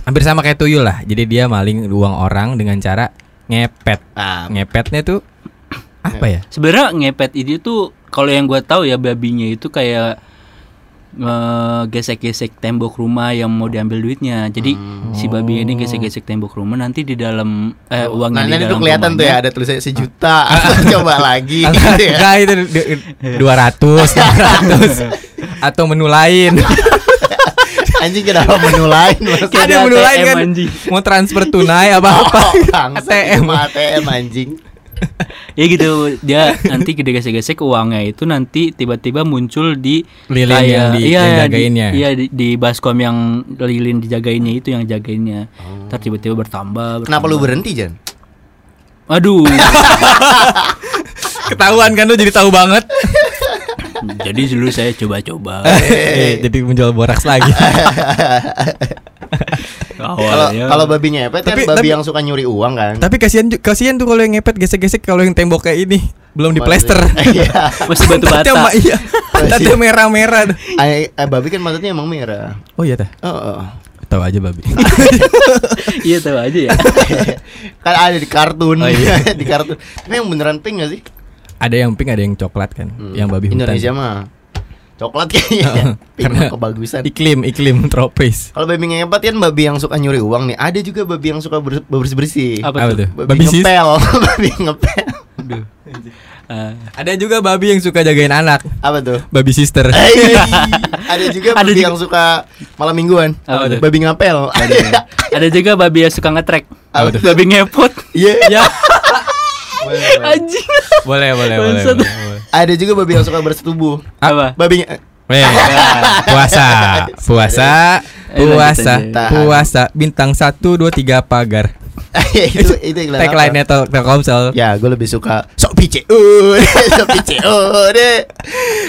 Speaker 3: hampir sama kayak tuyul lah. Jadi dia maling uang orang dengan cara ngepet.
Speaker 1: ah,
Speaker 3: Ngepetnya tuh apa ya?
Speaker 2: sebenarnya ngepet ini tuh kalau yang gua tahu ya babinya itu kayak eh, gesek-gesek tembok rumah yang mau diambil duitnya jadi si babi ini gesek-gesek tembok rumah nanti di dalam eh, uangnya
Speaker 1: Oh. Nah,
Speaker 2: di
Speaker 1: nanti
Speaker 2: dalam
Speaker 1: tuh kelihatan tuh ya
Speaker 2: rumahnya.
Speaker 1: ada tulisannya sejuta. Coba lagi gitu ya.
Speaker 3: Enggak itu dua ratus, atau menu lain.
Speaker 1: Anjing kenapa menu lain? Mas?
Speaker 2: Kayak
Speaker 3: ada
Speaker 2: di
Speaker 3: menu
Speaker 2: ATM,
Speaker 3: lain kan
Speaker 2: anjing.
Speaker 3: mau transfer tunai apa apa
Speaker 1: Oh, bangsat,
Speaker 3: ATM.
Speaker 1: itu mah ATM anjing.
Speaker 2: ya gitu dia nanti gede gesek-gesek uangnya itu nanti tiba-tiba muncul di
Speaker 3: Lilin
Speaker 2: kayak-
Speaker 3: yang di-
Speaker 2: iya,
Speaker 3: yang
Speaker 2: di-
Speaker 3: jagainnya.
Speaker 2: iya di, di baskom yang lilin dijagainnya itu yang jagainnya ntar tiba-tiba bertambah,
Speaker 1: Kenapa lu
Speaker 2: bertambah.
Speaker 1: berhenti, Jan?
Speaker 2: aduh
Speaker 3: ketahuan kan lu jadi tahu banget
Speaker 2: jadi dulu saya coba-coba
Speaker 3: Eh, jadi menjual boraks lagi
Speaker 1: Kalau
Speaker 2: awalnya
Speaker 1: kalau babi ngepet kan
Speaker 3: Oh, iya. Tapi-
Speaker 1: babi
Speaker 3: tapi-
Speaker 1: yang suka nyuri uang kan.
Speaker 3: tapi kasihan ju- kasihan tuh kalau yang ngepet gesek-gesek kalau yang tembok kayak ini belum diplester
Speaker 1: Iya.
Speaker 2: mesti batu
Speaker 3: Pantatnya
Speaker 2: bata
Speaker 3: ma- iya pantatnya merah-merah
Speaker 1: Ay- eh, babi kan matanya emang merah.
Speaker 3: oh iya tah
Speaker 1: Oh, oh.
Speaker 3: tahu aja babi
Speaker 2: iya tahu aja ya
Speaker 1: kan ada di kartun.
Speaker 3: Oh, iya.
Speaker 1: di kartun. Tapi yang beneran pink gak sih?
Speaker 3: ada yang pink ada yang coklat kan
Speaker 1: Hmm.
Speaker 3: yang babi hutan
Speaker 1: Indonesia
Speaker 3: Iya.
Speaker 1: mah coklat kayaknya. pink
Speaker 3: Karena-
Speaker 1: mah kebagusan.
Speaker 3: iklim iklim tropis
Speaker 1: Kalau babi ngepet kan babi yang suka nyuri uang nih. Ada juga babi yang suka ber- bersih-bersih.
Speaker 2: Apa
Speaker 3: Apa
Speaker 2: tuh?
Speaker 3: tuh?
Speaker 1: Babi,
Speaker 3: sis?
Speaker 1: ngepel, babi ngepel.
Speaker 2: Eh,
Speaker 3: Ada juga babi yang suka jagain anak.
Speaker 1: Apa tuh?
Speaker 3: Babi sister.
Speaker 1: Hey, ada juga
Speaker 2: Ada
Speaker 1: babi
Speaker 2: juga.
Speaker 1: yang suka malam mingguan.
Speaker 2: Apa tuh?
Speaker 1: Babi ngapel.
Speaker 2: ada juga babi yang suka ngetrek
Speaker 1: Apa tuh?
Speaker 2: babi ngepot
Speaker 1: Iya.
Speaker 3: ya.
Speaker 2: anjing
Speaker 3: Boleh, boleh, boleh.
Speaker 2: Bangsat.
Speaker 3: boleh, boleh.
Speaker 1: Ada juga babi yang suka bersetubuh.
Speaker 2: apa
Speaker 1: Babi nge-
Speaker 3: Weh, puasa, puasa, puasa,
Speaker 2: lanjut
Speaker 1: aja.
Speaker 3: puasa. Bintang 1 2 3 pagar.
Speaker 1: Iya, itu itu iklan apa?
Speaker 3: Tagline-nya Tel- Telkomsel.
Speaker 1: Ya, gue lebih suka sok PCU, sok PCU deh.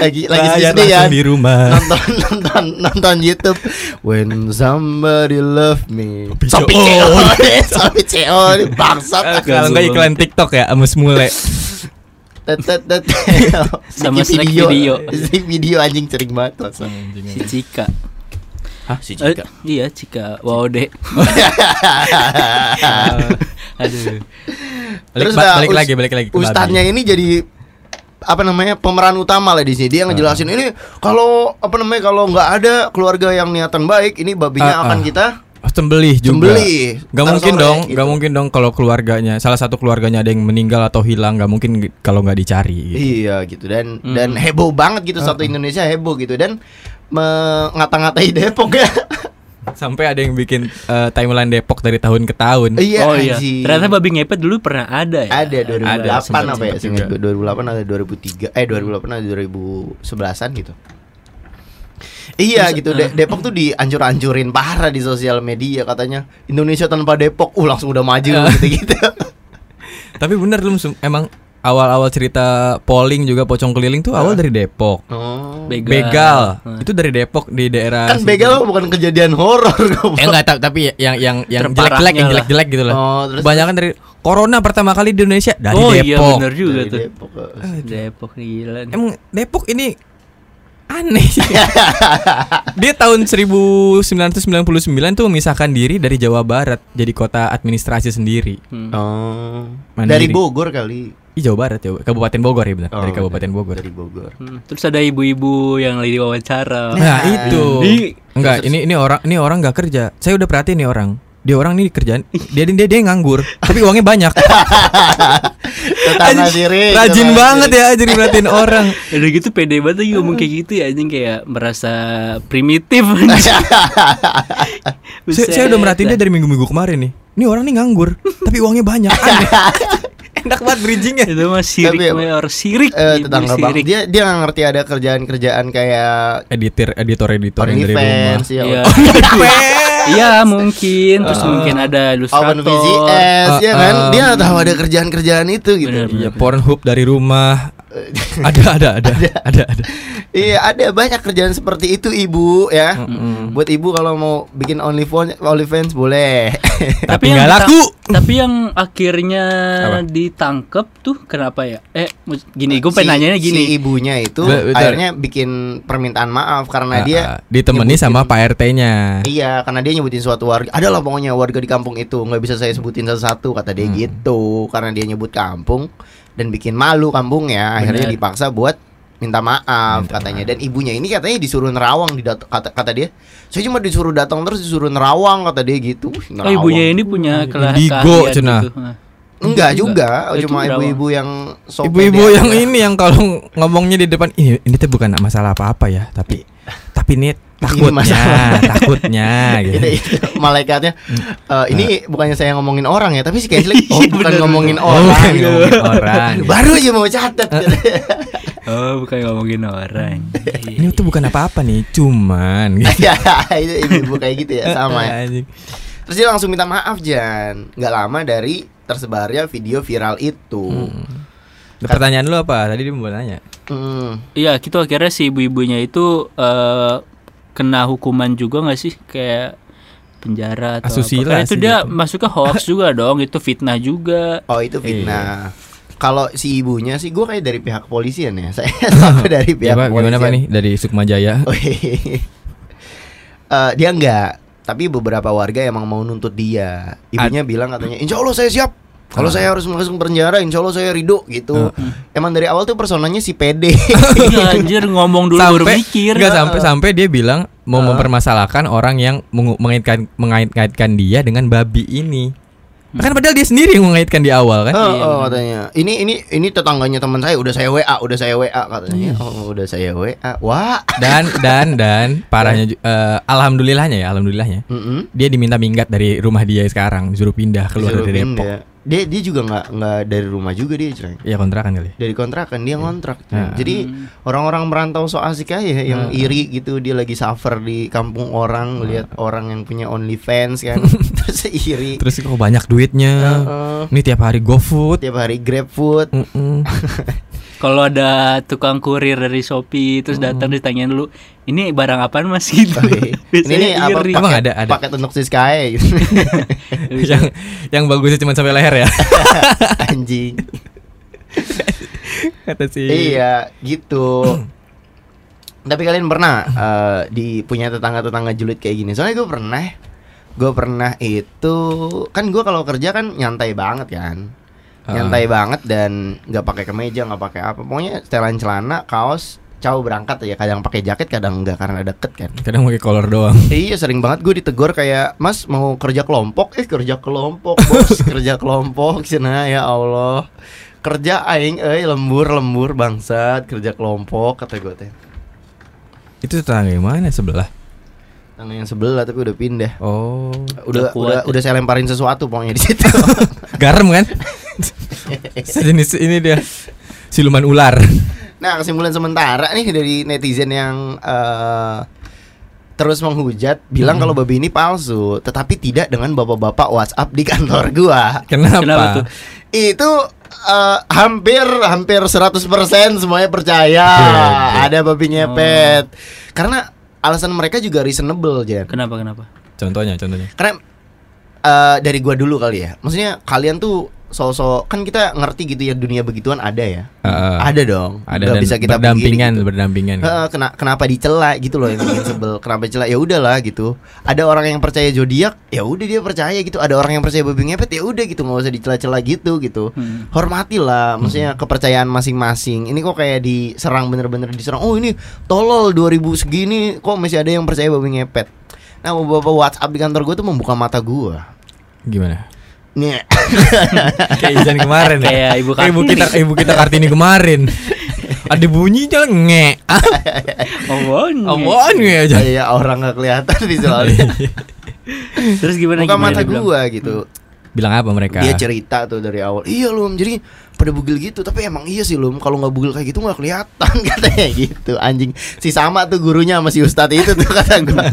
Speaker 1: Lagi lagi
Speaker 3: Bayar
Speaker 1: sedih ya.
Speaker 3: langsung di rumah.
Speaker 1: Nonton nonton nonton YouTube When somebody love me. Sok
Speaker 3: PCO.
Speaker 1: PCU deh, sok PCU deh.
Speaker 3: Eh,
Speaker 1: bangsat.
Speaker 3: Kalau enggak iklan TikTok ya, Amus Mule.
Speaker 1: Tet tet tet.
Speaker 2: Sama
Speaker 1: Bikin
Speaker 2: snack video.
Speaker 1: Snack video anjing sering banget. masa.
Speaker 3: Iya.
Speaker 2: si Cika
Speaker 1: Hah, si
Speaker 2: Eh, iya Cika wow deh
Speaker 1: Ah.
Speaker 2: aduh
Speaker 3: Balik,
Speaker 1: Terus
Speaker 3: ba-
Speaker 1: udah
Speaker 3: balik
Speaker 1: us-
Speaker 3: lagi, balik lagi ke
Speaker 1: Ustadznya
Speaker 3: babi.
Speaker 1: ini jadi apa namanya pemeran utama lah di sini dia ngejelasin
Speaker 3: Ah.
Speaker 1: ini kalau apa namanya kalau nggak ada keluarga yang niatan baik ini babinya
Speaker 3: Ah,
Speaker 1: akan
Speaker 3: ah.
Speaker 1: kita
Speaker 3: Oh, sembelih juga.
Speaker 1: Sembelih.
Speaker 3: Gak
Speaker 1: Ntar
Speaker 3: mungkin
Speaker 1: sore,
Speaker 3: dong,
Speaker 1: gitu.
Speaker 3: gak mungkin dong kalau keluarganya salah satu keluarganya ada yang meninggal atau hilang, gak mungkin g- kalau nggak dicari. gitu.
Speaker 1: iya gitu dan
Speaker 3: Hmm.
Speaker 1: dan heboh banget
Speaker 3: Ah,
Speaker 1: gitu satu Indonesia heboh gitu dan mengata-ngatai Depok ya
Speaker 3: Sampai ada yang bikin eh, timeline Depok dari tahun ke tahun.
Speaker 1: iya
Speaker 2: oh iya
Speaker 1: anjing.
Speaker 2: ternyata babi ngepet dulu pernah ada ya
Speaker 3: Iya,
Speaker 1: ada 2008
Speaker 2: Sempet-
Speaker 1: apa ya
Speaker 2: sempet
Speaker 1: seingat
Speaker 2: juga.
Speaker 1: gue 2008 ada 2003 eh 2008 ada 2011an gitu Iya
Speaker 2: Terus,
Speaker 1: gitu De-
Speaker 3: eh.
Speaker 1: Depok tuh diancur-ancurin parah di sosial media katanya Indonesia tanpa Depok uh langsung udah
Speaker 3: Eh.
Speaker 1: maju gitu-gitu
Speaker 3: Tapi bener lu Sum. emang awal-awal cerita polling juga pocong keliling tuh awal dari Depok.
Speaker 1: oh.
Speaker 2: begal,
Speaker 3: Begal. Itu dari Depok di daerah
Speaker 1: Kan
Speaker 3: situ.
Speaker 1: begal bukan kejadian horor
Speaker 3: Eh enggak ta- tapi yang yang yang jelek-jelek
Speaker 2: Terparahnya
Speaker 3: yang
Speaker 2: lah.
Speaker 3: jelek-jelek gitu lah.
Speaker 1: Oh, terus-
Speaker 3: Kebanyakan dari corona pertama kali di Indonesia dari
Speaker 2: oh iya
Speaker 3: Depok.
Speaker 2: benar juga
Speaker 1: Dari
Speaker 3: gitu.
Speaker 2: tuh
Speaker 1: Depok, eh.
Speaker 2: Depok nih gila nih.
Speaker 3: Emang Depok ini aneh sih. Dia tahun 1999 tuh memisahkan diri dari Jawa Barat jadi kota administrasi sendiri.
Speaker 2: Hmm.
Speaker 1: Oh. Dari
Speaker 3: Mandiri.
Speaker 1: Bogor kali
Speaker 3: Ih Jawa Barat ya, Kabupaten Bogor ya benar.
Speaker 1: Oh,
Speaker 3: dari Kabupaten Bogor.
Speaker 1: Dari Bogor
Speaker 2: Hmm. terus ada ibu-ibu yang lagi
Speaker 1: Oh.
Speaker 2: diwawancara
Speaker 3: Nah, itu.
Speaker 2: Di-
Speaker 3: Enggak, ini ini orang ini orang nggak kerja. Saya udah perhatiin nih orang. Dia orang nih kerjaan dia dia dia nganggur, tapi uangnya banyak.
Speaker 1: Tetangga sendiri
Speaker 3: Rajin
Speaker 1: tetangga
Speaker 3: banget
Speaker 1: sendiri.
Speaker 3: ya jadi perhatiin orang.
Speaker 2: udah gitu pede banget lagi ngomong kayak gitu ya anjing kayak merasa primitif
Speaker 3: Saya, saya udah merhatiin dia dari minggu-minggu kemarin nih. Ini orang nih nganggur, tapi uangnya banyak. Aneh. Enak banget bridgingnya.
Speaker 2: itu mah sirik
Speaker 1: Tapi-
Speaker 2: mayor sirik
Speaker 1: Eh,
Speaker 2: ibu
Speaker 1: tetangga bang
Speaker 2: sirik.
Speaker 1: dia dia nggak ngerti ada kerjaan-kerjaan kayak
Speaker 3: Editor editor editor yang dari rumah.
Speaker 1: OnlyFans ya.
Speaker 2: Iya.
Speaker 1: Oh,
Speaker 2: Iya mungkin terus
Speaker 1: Eh,
Speaker 2: mungkin ada
Speaker 1: Oh, Open
Speaker 2: ilustrator.
Speaker 1: VCS ya
Speaker 3: Uh,
Speaker 1: kan?
Speaker 3: um,
Speaker 1: Dia nggak tahu ada kerjaan-kerjaan itu gitu.
Speaker 2: Bener.
Speaker 3: Iya, Pornhub dari rumah. ada ada ada ada ada.
Speaker 1: Iya, ada banyak kerjaan seperti itu ibu ya. Buat ibu kalau mau bikin OnlyFans OnlyFans boleh.
Speaker 3: Tapi
Speaker 2: yang
Speaker 3: nggak
Speaker 2: ditang-
Speaker 3: laku.
Speaker 2: Tapi yang akhirnya
Speaker 3: Apa?
Speaker 2: ditangkep tuh kenapa ya? Eh mus- gini gue
Speaker 1: Si-
Speaker 2: pengen nanyanya
Speaker 1: Si
Speaker 2: gini.
Speaker 1: ibunya itu
Speaker 3: Be- betul.
Speaker 1: akhirnya bikin permintaan maaf karena Nah, dia gitu.
Speaker 3: Ah, ah, ditemani
Speaker 1: nyebutin-
Speaker 3: sama Pak RT-nya.
Speaker 1: Iya, karena dia nyebutin suatu warga. Adalah pokoknya warga di kampung itu nggak bisa saya sebutin satu-satu kata dia gitu. Karena dia nyebut kampung dan bikin malu kampungnya. Akhirnya
Speaker 2: Bener.
Speaker 1: dipaksa buat minta maaf katanya. Dan ibunya ini katanya disuruh nerawang di dat- kata kata dia. Saya cuma disuruh datang terus disuruh nerawang kata dia gitu. Wih,
Speaker 2: Oh
Speaker 1: nerawang.
Speaker 2: ibunya ini punya kelah-
Speaker 3: Indigo,
Speaker 2: keahlian
Speaker 3: Cina.
Speaker 2: gitu. Nah.
Speaker 1: enggak juga,
Speaker 2: Itu
Speaker 1: cuma
Speaker 2: nerawang.
Speaker 1: ibu-ibu yang sopir
Speaker 3: Ibu-ibu
Speaker 1: dia.
Speaker 3: yang ini yang kalau ngomongnya di depan ini ini tuh bukan masalah apa-apa ya, tapi tapi ini takutnya
Speaker 1: masalah.
Speaker 3: takutnya gitu
Speaker 1: Itu- itu Iya, malaikatnya eh, ini bukannya saya ngomongin orang ya tapi si Kensli oh, bukan
Speaker 2: Bener.
Speaker 1: ngomongin
Speaker 3: oh,
Speaker 1: orang gitu.
Speaker 3: bukan ngomongin orang gitu.
Speaker 1: baru aja mau catat
Speaker 2: Oh, bukan ngomongin orang.
Speaker 3: ini tuh bukan apa-apa nih cuman
Speaker 1: ya
Speaker 3: gitu.
Speaker 1: itu ibu-ibu kayak gitu ya sama ya.
Speaker 3: Anjing.
Speaker 1: terus dia langsung minta maaf Jan nggak lama dari tersebarnya video viral itu
Speaker 3: Hmm. Nah, pertanyaan lu apa tadi dia mau nanya
Speaker 1: Hmm.
Speaker 2: Iya, gitu akhirnya si ibu-ibunya itu eh, kena hukuman juga nggak sih kayak penjara atau
Speaker 3: Asusila
Speaker 2: apa. Karena itu
Speaker 3: sih
Speaker 2: dia
Speaker 3: gitu.
Speaker 2: masuknya hoax juga dong, itu fitnah juga.
Speaker 1: oh itu fitnah
Speaker 3: Iya.
Speaker 1: kalau si ibunya sih gue kayak dari pihak kepolisian ya saya tahu dari pihak
Speaker 3: Coba gimana pak
Speaker 1: kepolisian.
Speaker 3: nih dari Sukma
Speaker 1: Oh,
Speaker 3: Jaya
Speaker 1: Wih. Eh, dia enggak, tapi beberapa warga emang mau nuntut dia. Ibunya bilang katanya, Insya Allah saya siap. Kalau
Speaker 3: Ah.
Speaker 1: saya harus masuk penjara, Insya Allah saya ridho gitu. Emang dari awal tuh personanya si PD.
Speaker 2: Iya, anjir ngomong dulu baru mikir.
Speaker 3: nggak, sampai sampai dia bilang mau mempermasalahkan orang yang mengu- mengaitkan mengaitkan dia dengan babi ini
Speaker 1: Hmm.
Speaker 3: kan padahal dia sendiri yang mengaitkan di awal kan
Speaker 1: Oh, oh, katanya. Ini ini ini tetangganya teman saya udah saya WA, udah saya WA katanya.
Speaker 3: Iya.
Speaker 1: Oh, udah saya WA. Wah.
Speaker 3: dan dan dan parahnya ju- eh, alhamdulillahnya ya alhamdulillahnya
Speaker 1: Mm-mm.
Speaker 3: dia diminta minggat dari rumah dia sekarang disuruh pindah keluar
Speaker 1: Disuruh
Speaker 3: dari Depok
Speaker 1: pindah. Dia dia juga nggak nggak dari rumah juga dia, Ceng.
Speaker 3: ya kontrakan kali
Speaker 1: dari kontrakan dia ngontrak
Speaker 3: Nah.
Speaker 1: jadi orang-orang merantau so asik aja yang iri gitu dia lagi suffer di kampung orang lihat orang yang punya only fans kan terus iri
Speaker 3: terus kok banyak duitnya
Speaker 1: Heeh. Iya.
Speaker 3: ini tiap hari GoFood
Speaker 1: tiap hari grab food
Speaker 3: Mm-mm.
Speaker 2: Kalau ada tukang kurir dari Shopee terus datang ditanyain dulu, ini barang apaan Mas gitu.
Speaker 1: Hmm. Oke. ini, ini apa
Speaker 2: iri.
Speaker 3: Emang
Speaker 1: paket,
Speaker 3: ada- ada?
Speaker 1: paket untuk si Sky gitu. Iya.
Speaker 3: yang yang bagusnya cuma sampai leher ya
Speaker 1: anjing
Speaker 3: kata si
Speaker 1: iya gitu tapi kalian pernah eh, di punya tetangga-tetangga julid kayak gini soalnya gue pernah gue pernah itu kan gue kalau kerja kan nyantai banget kan nyantai banget dan nggak pakai kemeja nggak pakai apa pokoknya setelan celana kaos caw berangkat ya kadang pakai jaket kadang nggak karena deket kan
Speaker 3: kadang pakai kolor doang
Speaker 1: Iya sering banget gue ditegur kayak Mas mau kerja kelompok Eh kerja kelompok bos Kerja kelompok cina ya Allah Kerja aing eh lembur lembur bangsat Kerja kelompok kata gue teh
Speaker 3: itu tetangga yang mana sebelah
Speaker 1: Tangan yang sebelah tapi udah pindah
Speaker 3: oh
Speaker 1: Udah
Speaker 2: Udah kuat,
Speaker 1: udah,
Speaker 2: ya.
Speaker 1: udah saya lemparin sesuatu pokoknya di situ
Speaker 3: garam kan sejenis ini dia siluman ular
Speaker 1: Nah kesimpulan sementara nih dari netizen yang eh, terus menghujat bilang
Speaker 2: Hmm.
Speaker 1: kalau babi ini palsu, tetapi tidak dengan bapak-bapak WhatsApp di kantor gua.
Speaker 3: kenapa,
Speaker 2: Kenapa tuh?
Speaker 1: Itu eh, hampir hampir 100% semuanya percaya
Speaker 3: Oke. Oh.
Speaker 1: ada babi ngepet. Karena alasan mereka juga reasonable, Jan.
Speaker 2: Kenapa kenapa?
Speaker 3: contohnya contohnya
Speaker 1: Karena eh, dari gua dulu kali ya. Maksudnya kalian tuh sosok kan kita ngerti gitu ya dunia begituan ada ya.
Speaker 3: Heeh.
Speaker 1: ada dong.
Speaker 3: Ah. ada
Speaker 1: Nggak
Speaker 3: dan
Speaker 1: bisa kita
Speaker 3: berdampingan
Speaker 1: pungkiri gitu.
Speaker 3: berdampingan
Speaker 1: Heeh, kena, kenapa dicela gitu loh yang bikin sebel kenapa dicela ya udahlah gitu ada orang yang percaya zodiak ya udah dia percaya gitu ada orang yang percaya babi ngepet ya udah gitu nggak usah dicela-cela gitu gitu
Speaker 2: Hmm.
Speaker 1: hormatilah maksudnya kepercayaan masing-masing ini kok kayak diserang bener-bener diserang oh ini tolol 2000 segini kok masih ada yang percaya babi ngepet nah beberapa WhatsApp di kantor gue tuh membuka mata gue
Speaker 3: gimana
Speaker 1: nih
Speaker 3: kayak Izan kemarin ya?
Speaker 2: Kayak ibu
Speaker 3: ibu
Speaker 2: Kartini.
Speaker 3: kita ibu kita kartini kemarin ada bunyinya nge ah
Speaker 2: Omong.
Speaker 3: apaan nge aja
Speaker 2: Iya,
Speaker 1: ya orang nggak kelihatan visualnya
Speaker 2: Terus gimana
Speaker 1: buka
Speaker 2: gimana
Speaker 1: mata
Speaker 2: dia bilang? Oh,
Speaker 1: gue gitu
Speaker 2: Hmm.
Speaker 3: bilang apa mereka
Speaker 1: Dia cerita tuh dari awal. Iya lum, jadi pada bugil gitu. Tapi emang iya sih lum, kalau nggak bugil kayak gitu nggak kelihatan katanya gitu. Anjing si sama tuh gurunya sama si ustadz itu tuh kata gua.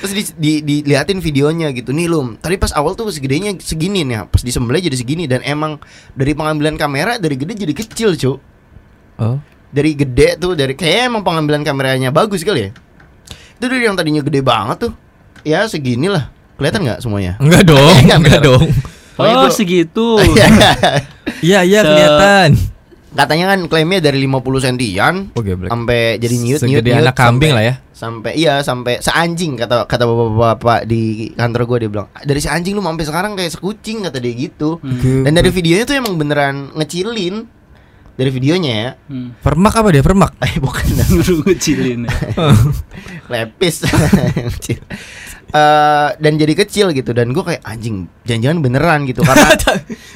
Speaker 1: Terus di, di, diliatin videonya gitu Nih lum Tadi pas awal tuh segedenya segini nih ya. Pas disembelih jadi segini Dan emang Dari pengambilan kamera Dari gede jadi kecil cu
Speaker 3: oh
Speaker 1: Dari gede tuh dari Kayaknya emang pengambilan kameranya Bagus kali ya Itu dari yang tadinya gede banget tuh Ya seginilah Kelihatan nggak semuanya?
Speaker 3: enggak dong
Speaker 1: Enggak,
Speaker 3: enggak
Speaker 1: bener.
Speaker 3: dong
Speaker 2: Oh, segitu.
Speaker 3: iya iya
Speaker 2: Se-
Speaker 3: kelihatan
Speaker 1: Katanya kan klaimnya dari 50 sentian
Speaker 3: Oh, geblek.
Speaker 1: sampai jadi nyut nyut
Speaker 3: segede anak kambing lah ya
Speaker 1: Sampai iya sampai seanjing kata kata bapak-bapak di kantor gue dia bilang dari seanjing lu sampai sekarang kayak sekucing kata dia gitu.
Speaker 2: Hmm.
Speaker 1: Dan dari videonya tuh emang beneran ngecilin dari videonya ya.
Speaker 2: Hmm.
Speaker 3: permak apa dia permak
Speaker 1: Eh bukan
Speaker 2: Suruh ngecilin ya.
Speaker 1: lepis. Kecil. Eh, dan jadi kecil gitu dan gue kayak anjing jangan-jangan beneran gitu karena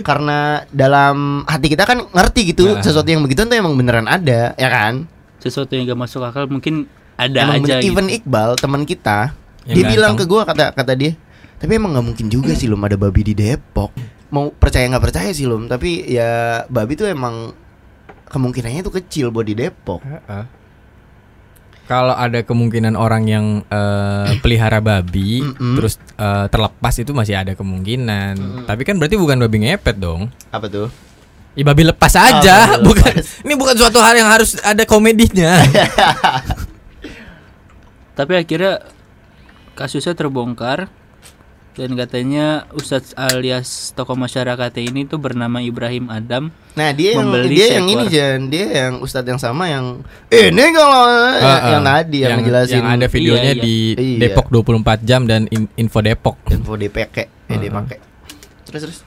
Speaker 1: karena dalam hati kita kan ngerti gitu
Speaker 3: Nah.
Speaker 1: sesuatu yang begitu tuh emang beneran ada ya kan
Speaker 2: sesuatu yang gak masuk akal mungkin ada
Speaker 1: emang
Speaker 2: aja
Speaker 1: bener.
Speaker 2: gitu.
Speaker 1: even Iqbal teman kita
Speaker 3: Yang
Speaker 1: dia
Speaker 3: ganteng.
Speaker 1: bilang ke gua kata kata dia tapi emang nggak mungkin juga sih lum ada babi di Depok mau percaya nggak percaya sih lum tapi ya babi tuh emang kemungkinannya tuh kecil buat di Depok
Speaker 3: Heeh. Eh, Kalau ada kemungkinan orang yang eh, pelihara babi
Speaker 1: Mm-mm.
Speaker 3: terus eh, terlepas itu masih ada kemungkinan.
Speaker 1: Mm-mm.
Speaker 3: Tapi kan berarti bukan babi ngepet dong.
Speaker 1: apa tuh
Speaker 3: Ya babi lepas aja,
Speaker 1: Ah, babi
Speaker 3: bukan.
Speaker 1: lepas.
Speaker 3: Ini bukan suatu hal yang harus ada komedinya.
Speaker 2: Tapi akhirnya kasusnya terbongkar dan katanya Ustadz alias tokoh masyarakat ini tuh bernama Ibrahim Adam.
Speaker 1: nah dia yang
Speaker 2: Membeli
Speaker 1: dia yang ini
Speaker 2: seekor.
Speaker 1: Jan dia yang ustadz yang sama yang "Eh, ini kalau ya,
Speaker 3: Heeh.
Speaker 1: yang tadi yang, ngejelasin
Speaker 3: Ah, yang ada
Speaker 2: Iya,
Speaker 3: videonya
Speaker 2: iya.
Speaker 3: di
Speaker 1: Iya.
Speaker 3: Depok 24 jam dan in- info Depok.
Speaker 1: info DPK eh
Speaker 3: Heeh.
Speaker 1: DPK terus terus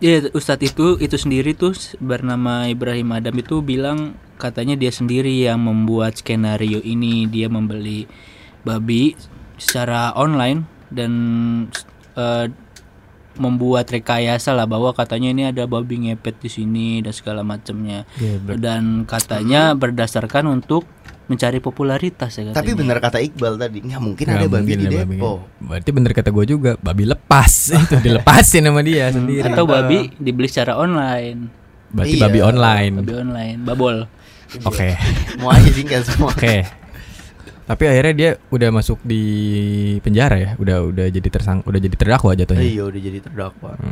Speaker 2: Iya Ustadz itu itu sendiri tuh s- bernama Ibrahim Adam itu bilang katanya dia sendiri yang membuat skenario ini dia membeli babi secara online dan s- eh, membuat rekayasa lah bahwa katanya ini ada babi ngepet di sini dan segala macamnya
Speaker 1: Iya,
Speaker 2: dan katanya berdasarkan untuk mencari popularitas ya katanya.
Speaker 1: tapi bener kata Iqbal tadi nggak mungkin ada
Speaker 3: Nggak
Speaker 1: babi
Speaker 3: mungkin
Speaker 1: di
Speaker 3: ada babi.
Speaker 1: Depok
Speaker 3: Berarti bener kata gue juga, babi lepas itu dilepasin sama dia sendiri.
Speaker 2: atau babi dibeli secara online
Speaker 3: Berarti
Speaker 1: Iya.
Speaker 3: babi online.
Speaker 2: babi online babol
Speaker 3: Oke.
Speaker 1: mau aja singkat semua
Speaker 3: Oke. Tapi akhirnya dia udah masuk di penjara ya, udah udah jadi tersang, udah jadi terdakwa jatuhnya.
Speaker 1: iya udah jadi terdakwa
Speaker 3: Tapi,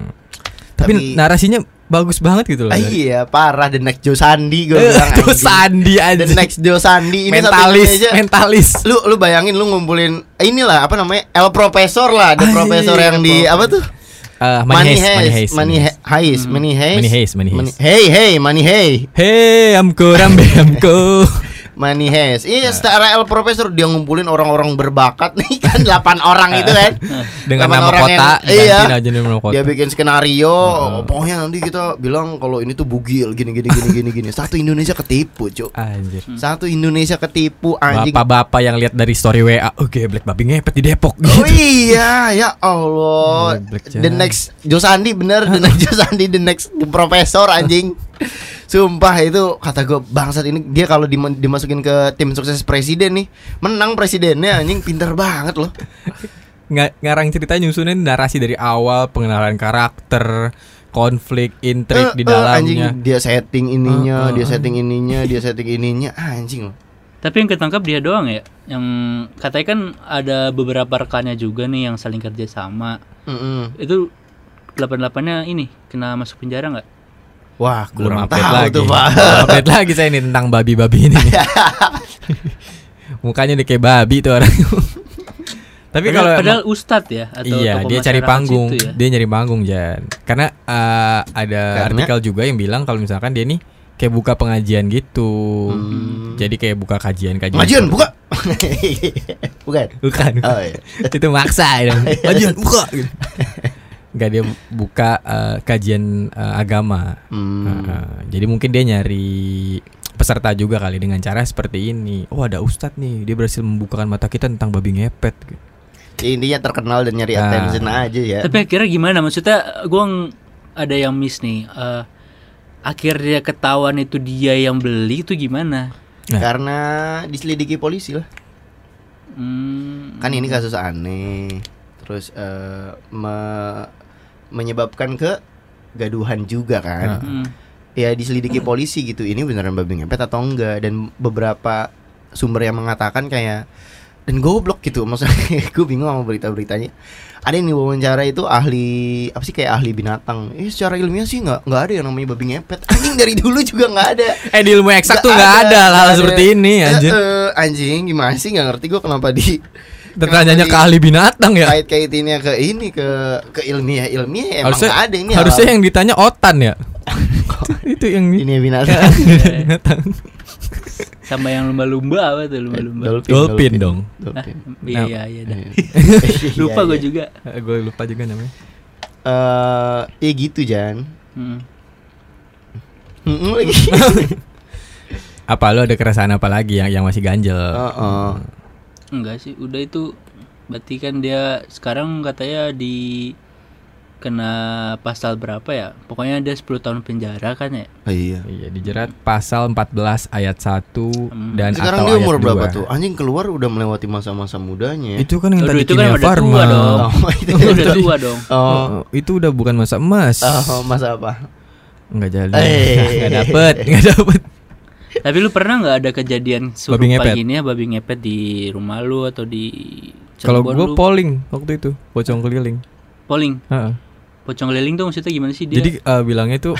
Speaker 1: Tapi-
Speaker 3: narasinya bagus banget gitu loh.
Speaker 1: Ah, iya parah the next Joe Sandi gue bilang anjing.
Speaker 3: Itu Eh, Sandi aja.
Speaker 1: the next Joe Sandi ini satu
Speaker 3: mentalis,
Speaker 1: ini aja.
Speaker 3: mentalis.
Speaker 1: lu lu bayangin lu ngumpulin eh, inilah apa namanya El Profesor lah the
Speaker 3: Ah,
Speaker 1: Profesor
Speaker 3: iya,
Speaker 1: yang
Speaker 3: El
Speaker 1: di
Speaker 3: Profesor.
Speaker 1: apa tuh
Speaker 3: Eh,
Speaker 1: Money
Speaker 3: Heist, Money
Speaker 1: Heist
Speaker 3: Heist,
Speaker 1: Money
Speaker 3: Money
Speaker 1: He-
Speaker 3: Hmm.
Speaker 1: Heist Money Heist
Speaker 3: Money Heist, Money Heist.
Speaker 1: Hey hey Money Hey
Speaker 3: Hey, amko rambe amko.
Speaker 1: Money Heist iya
Speaker 3: Ya.
Speaker 1: setara El Profesor dia ngumpulin orang-orang berbakat nih kan 8 orang itu kan Delapan
Speaker 3: Dengan nama
Speaker 1: orang
Speaker 3: kota,
Speaker 1: yang, iya
Speaker 3: gantiin aja nama kota.
Speaker 1: dia bikin skenario pokoknya nanti kita bilang kalau ini tuh bugil gini gini gini gini gini satu Indonesia ketipu cuk
Speaker 3: Anjir.
Speaker 1: Satu Indonesia ketipu anjing.
Speaker 3: Bapak-bapak yang lihat dari story WA, oke, black babi ngepet di Depok gitu.
Speaker 1: Oh iya, ya Allah.
Speaker 3: Black
Speaker 1: The
Speaker 3: Jack.
Speaker 1: next Josandi bener, the next Josandi, the next profesor anjing. Sumpah itu kata gue bangsat ini dia kalau dim- dimasukin ke tim sukses presiden nih, menang presidennya anjing pinter banget loh.
Speaker 3: Nga- ngarang cerita nyusunin narasi dari awal pengenalan karakter konflik
Speaker 1: Eh,
Speaker 3: intrik di
Speaker 1: eh, anjing
Speaker 3: dalamnya
Speaker 1: dia setting ininya,
Speaker 3: Eh, eh,
Speaker 1: dia
Speaker 3: eh.
Speaker 1: setting ininya, dia setting ininya, anjing loh.
Speaker 2: tapi yang ketangkap dia doang ya yang katanya kan ada beberapa rekannya juga nih yang saling kerja sama
Speaker 1: Mm-mm.
Speaker 2: itu delapan delapannya ini kena masuk penjara nggak
Speaker 1: Wah,
Speaker 3: belum
Speaker 1: kurang
Speaker 3: update
Speaker 1: tahu
Speaker 3: lagi
Speaker 1: tuh, Pak.
Speaker 3: Belum update lagi saya ini tentang babi-babi ini mukanya udah kayak babi tuh orang tapi
Speaker 2: Padahal-
Speaker 3: kalau
Speaker 2: padahal ustadz ya atau
Speaker 3: iya
Speaker 2: tokoh
Speaker 3: dia cari
Speaker 2: masyarakat
Speaker 3: panggung
Speaker 2: situ ya.
Speaker 3: dia nyari panggung Jan karena eh, ada
Speaker 1: Karena-
Speaker 3: artikel juga yang bilang kalau misalkan dia nih kayak buka pengajian gitu
Speaker 1: Hmm.
Speaker 3: jadi kayak buka kajian kajian
Speaker 1: Majuan, buka. Bukan.
Speaker 3: bukan
Speaker 1: Oh, iya.
Speaker 3: itu maksa ya. Majuan buka gitu. Enggak dia buka eh, kajian eh, agama.
Speaker 1: Hmm.
Speaker 3: Heeh. jadi mungkin dia nyari peserta juga kali dengan cara seperti ini. Oh, ada ustadz nih, dia berhasil membukakan mata kita tentang babi ngepet gitu.
Speaker 1: Ya, Intinya terkenal dan nyari
Speaker 3: Ah.
Speaker 1: attention aja ya.
Speaker 2: Tapi akhirnya gimana? Maksudnya gue ada yang miss nih. Eh, akhirnya ketahuan itu dia yang beli itu gimana?
Speaker 3: Nah.
Speaker 1: Karena diselidiki polisi lah.
Speaker 2: Hmm,
Speaker 1: Kan ini kasus aneh. Terus eh, me- menyebabkan ke gaduhan juga kan.
Speaker 2: hmm.
Speaker 1: Ya diselidiki polisi gitu. Ini beneran babi ngepet atau enggak dan beberapa sumber yang mengatakan kayak dan goblok gitu maksudnya gue bingung sama berita-beritanya ada yang diwawancara itu ahli apa sih kayak ahli binatang eh secara ilmiah sih nggak nggak ada yang namanya babi ngepet anjing dari dulu juga nggak ada
Speaker 3: Eh, di ilmu eksak tuh
Speaker 1: Nggak
Speaker 3: enggak ada
Speaker 1: nggak
Speaker 3: hal
Speaker 1: ada.
Speaker 3: seperti ini, anjir.
Speaker 1: Eh, eh, anjing gimana sih nggak ngerti gue kenapa di
Speaker 3: Tertanyanya ke
Speaker 1: kenapa
Speaker 3: ahli binatang ya.
Speaker 1: kait-kaitinnya ke ini ke ke ilmiah ilmiah emang
Speaker 3: Harusnya
Speaker 1: nggak ada ini ya,
Speaker 3: harusnya
Speaker 1: halal.
Speaker 3: yang ditanya otan ya. itu yang
Speaker 1: ini binatang
Speaker 3: Iya. binatang.
Speaker 2: Sama yang lumba-lumba apa tuh lumba-lumba?
Speaker 3: Eh, Dolphin dong.
Speaker 2: Hah?
Speaker 1: dolphin.
Speaker 2: Iya
Speaker 3: Nah,
Speaker 2: iya iya. dah.
Speaker 1: Iya,
Speaker 2: Lupa
Speaker 1: iya.
Speaker 2: gue juga.
Speaker 3: Gue lupa juga namanya.
Speaker 1: Eh, ya gitu Jan
Speaker 2: Hmm.
Speaker 1: Mm-mm lagi.
Speaker 3: Apa lo ada keresahan apa lagi yang yang masih ganjel?
Speaker 1: Heeh. Oh,
Speaker 2: Enggak sih. Udah itu berarti kan dia sekarang katanya di kena pasal berapa ya? Pokoknya ada 10 tahun penjara kan ya?
Speaker 1: Ah, iya.
Speaker 3: Iya, dijerat pasal 14 ayat 1
Speaker 2: Hmm.
Speaker 3: dan
Speaker 1: Sekarang
Speaker 3: atau
Speaker 1: dia
Speaker 3: ayat
Speaker 1: umur berapa
Speaker 3: 2.
Speaker 1: tuh? Anjing keluar udah melewati masa-masa mudanya ya.
Speaker 3: Itu kan yang
Speaker 2: Aduh,
Speaker 3: tadi
Speaker 2: itu kan
Speaker 3: kimia
Speaker 2: udah
Speaker 3: farma.
Speaker 2: tua dong.
Speaker 1: Oh, itu
Speaker 3: Iya,
Speaker 2: Itu udah
Speaker 1: tadi.
Speaker 2: tua dong.
Speaker 1: Oh,
Speaker 3: Oh, itu udah bukan masa emas.
Speaker 1: oh, masa apa?
Speaker 3: Enggak jadi.
Speaker 1: Eh.
Speaker 3: Enggak dapet, enggak dapet.
Speaker 2: Tapi lu pernah nggak ada kejadian serupa
Speaker 3: ngepet.
Speaker 2: gini ya babi ngepet di rumah lu atau di
Speaker 3: Kalau
Speaker 2: Cirebon
Speaker 3: gue
Speaker 2: lu?
Speaker 3: polling waktu itu, pocong keliling.
Speaker 2: polling,
Speaker 3: Heeh.
Speaker 2: pocong keliling tuh maksudnya gimana sih dia?
Speaker 3: Jadi eh, bilangnya tuh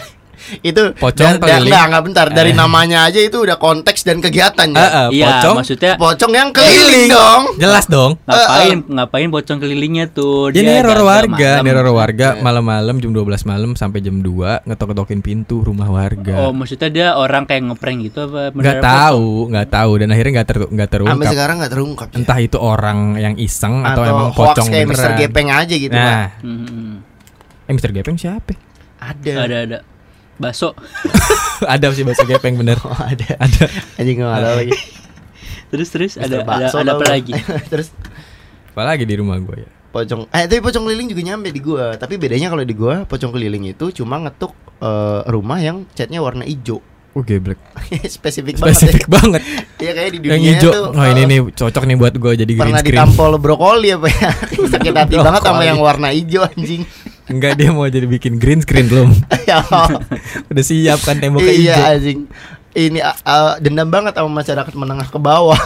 Speaker 1: Itu dan-
Speaker 3: Pocong
Speaker 1: dan-
Speaker 3: keliling.
Speaker 1: enggak, enggak bentar. Dari namanya aja itu udah konteks dan kegiatan
Speaker 3: eh,
Speaker 1: ya.
Speaker 3: eh, eh.
Speaker 2: iya,
Speaker 3: pocong
Speaker 2: maksudnya
Speaker 1: Pocong yang keliling dong.
Speaker 3: jelas dong.
Speaker 2: ngapain ngapain pocong kelilingnya tuh?
Speaker 3: Dia neror
Speaker 2: jaga
Speaker 3: warga,
Speaker 2: malam.
Speaker 3: neror warga malam-malam jam 12 malam sampai jam 2 ngetok-ngetokin pintu rumah
Speaker 2: Oh,
Speaker 3: warga.
Speaker 2: maksudnya dia orang kayak ngeprank gitu apa?
Speaker 3: Nggak
Speaker 2: beneran
Speaker 3: tahu, nggak tahu dan akhirnya nggak ter nggak
Speaker 1: Sampai
Speaker 3: terungkap.
Speaker 1: sekarang nggak terungkap. ya.
Speaker 3: Entah itu orang yang iseng atau, emang
Speaker 1: hoax
Speaker 3: pocong
Speaker 1: kayak Mr.
Speaker 3: beneran.
Speaker 1: Gepeng aja gitu. Pak.
Speaker 3: Nah,
Speaker 2: pocong? Hmm, hmm.
Speaker 3: eh Mr. Gepeng siapa?
Speaker 1: Ada.
Speaker 3: Iya.
Speaker 2: Ada ada. Baso.
Speaker 3: ada sih bahasa Gepeng bener.
Speaker 1: Oh, ada.
Speaker 3: Ada.
Speaker 1: Anjing enggak ada lagi.
Speaker 2: Terus terus
Speaker 1: Mr.
Speaker 2: ada
Speaker 1: Bakso
Speaker 2: ada, ada apa
Speaker 1: tau.
Speaker 2: lagi?
Speaker 1: Terus
Speaker 3: Apalagi di rumah gue ya.
Speaker 1: pocong eh tapi pocong keliling juga nyampe di gua tapi bedanya kalau di gua pocong keliling itu cuma ngetuk eh, rumah yang catnya warna hijau
Speaker 3: Oh geblek.
Speaker 1: spesifik banget
Speaker 3: Spesifik banget.
Speaker 1: ya. ya kayak di dunia
Speaker 3: Yang hijau.
Speaker 1: tuh
Speaker 3: Oh ini
Speaker 1: eh,
Speaker 3: nih cocok nih buat gue jadi green
Speaker 1: pernah
Speaker 3: screen.
Speaker 1: ditampol brokoli apa ya sakit hati banget sama
Speaker 3: Brokoli.
Speaker 1: yang warna hijau anjing
Speaker 3: Enggak dia mau jadi bikin green screen belum.
Speaker 1: ya
Speaker 3: Udah siap kan temboknya hijau.
Speaker 1: iya anjing ini ah, ah, dendam banget sama masyarakat menengah ke bawah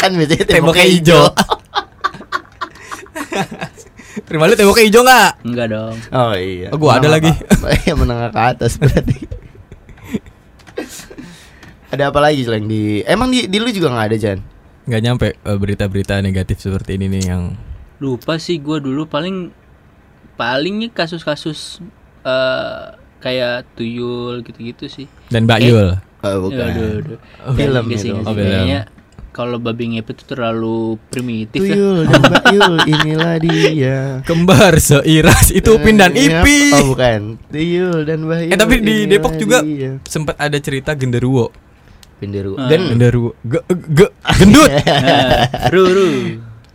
Speaker 1: kan biasanya
Speaker 3: Temboknya hijau. Terima lu temboknya hijau nggak?
Speaker 2: Enggak dong.
Speaker 1: oh iya
Speaker 3: Oh, gua ada
Speaker 1: Menengah
Speaker 3: lagi.
Speaker 1: ke- iya menengah ke atas berarti ada apa lagi selain di emang di, di lu juga nggak ada Jan
Speaker 3: Nggak nyampe eh, berita-berita negatif seperti ini nih yang
Speaker 2: Lupa sih gua dulu paling palingnya kasus-kasus eh kayak tuyul gitu-gitu sih.
Speaker 3: dan Mbak
Speaker 2: Eh,
Speaker 3: Yul.
Speaker 1: oh,
Speaker 2: Aduh, aduh.
Speaker 1: Film
Speaker 2: Nggak sih,
Speaker 1: itu.
Speaker 2: nggak sih.
Speaker 3: Oh, film.
Speaker 2: Kayaknya kalau babi ngepet itu terlalu primitif ya.
Speaker 1: tuyul dan bayul inilah dia
Speaker 3: Kembar seiras itu Upin dan
Speaker 2: iya,
Speaker 1: Eh,
Speaker 3: Ipi.
Speaker 1: oh bukan tuyul dan bayul
Speaker 3: Eh tapi di
Speaker 1: inilah
Speaker 3: Depok juga
Speaker 1: dia.
Speaker 2: iya,
Speaker 3: sempat ada cerita genderuwo.
Speaker 1: Genderuwo.
Speaker 2: Ah.
Speaker 1: Dan
Speaker 3: Genderuwo. Ge, ge, gendut.
Speaker 2: Nah, ru ru.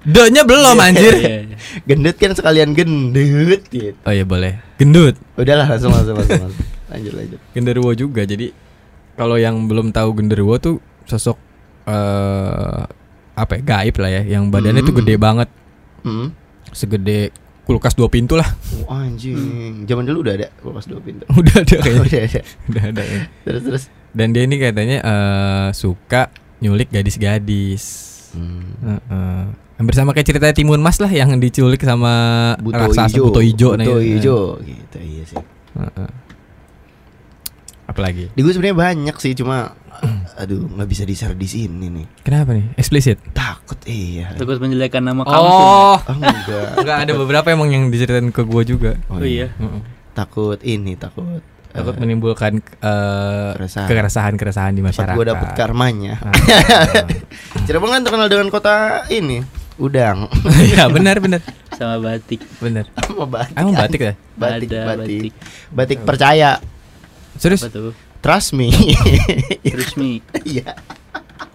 Speaker 3: D-nya belum anjir.
Speaker 2: Iya, iya.
Speaker 1: gendut kan sekalian gendut gitu.
Speaker 3: Oh iya boleh. Gendut.
Speaker 1: Udahlah langsung langsung langsung. langsung. Lanjut lanjut.
Speaker 3: Genderuwo juga. Jadi kalau yang belum tahu genderuwo tuh sosok eh apa ya, gaib lah ya yang badannya tuh
Speaker 1: Hmm.
Speaker 3: gede banget
Speaker 1: Hmm.
Speaker 3: segede kulkas dua pintu lah
Speaker 1: Oh, anjing. Zaman dulu udah ada kulkas dua pintu.
Speaker 3: udah ada kayaknya
Speaker 1: udah ada.
Speaker 3: udah ada ya.
Speaker 1: Terus terus.
Speaker 3: dan dia ini katanya eh suka nyulik gadis-gadis
Speaker 1: Hmm.
Speaker 3: Heeh. hampir sama kayak cerita Timun Mas lah yang diculik sama
Speaker 1: Buto
Speaker 3: raksasa
Speaker 1: hijau.
Speaker 3: buto ijo Eh.
Speaker 1: Buto ijo. Gitu iya sih.
Speaker 3: apalagi
Speaker 1: Di gue sebenarnya banyak sih cuma aduh nggak bisa di share di sini nih.
Speaker 3: kenapa nih eksplisit
Speaker 1: Takut iya.
Speaker 2: Takut menjelekan nama kamu.
Speaker 3: oh
Speaker 1: Ah enggak.
Speaker 3: nggak ada beberapa emang yang diceritain ke gua juga
Speaker 2: Oh
Speaker 1: Eh.
Speaker 2: iya.
Speaker 3: Heeh.
Speaker 1: Takut ini takut.
Speaker 3: takut menimbulkan eh,
Speaker 1: Keresahan.
Speaker 3: kekerasan-kerasan di
Speaker 1: Cepat
Speaker 3: masyarakat
Speaker 1: gue dapet karmanya.
Speaker 3: Ah.
Speaker 1: Cirebon kan terkenal dengan kota ini udang
Speaker 3: ya benar benar
Speaker 2: Sama batik.
Speaker 3: benar
Speaker 1: sama batik.
Speaker 3: emang batik ya
Speaker 1: Batik,
Speaker 2: Ada
Speaker 1: batik, batik percaya,
Speaker 3: serius
Speaker 2: Apa tuh?
Speaker 1: trust me.
Speaker 2: Terus mi.
Speaker 1: Iya,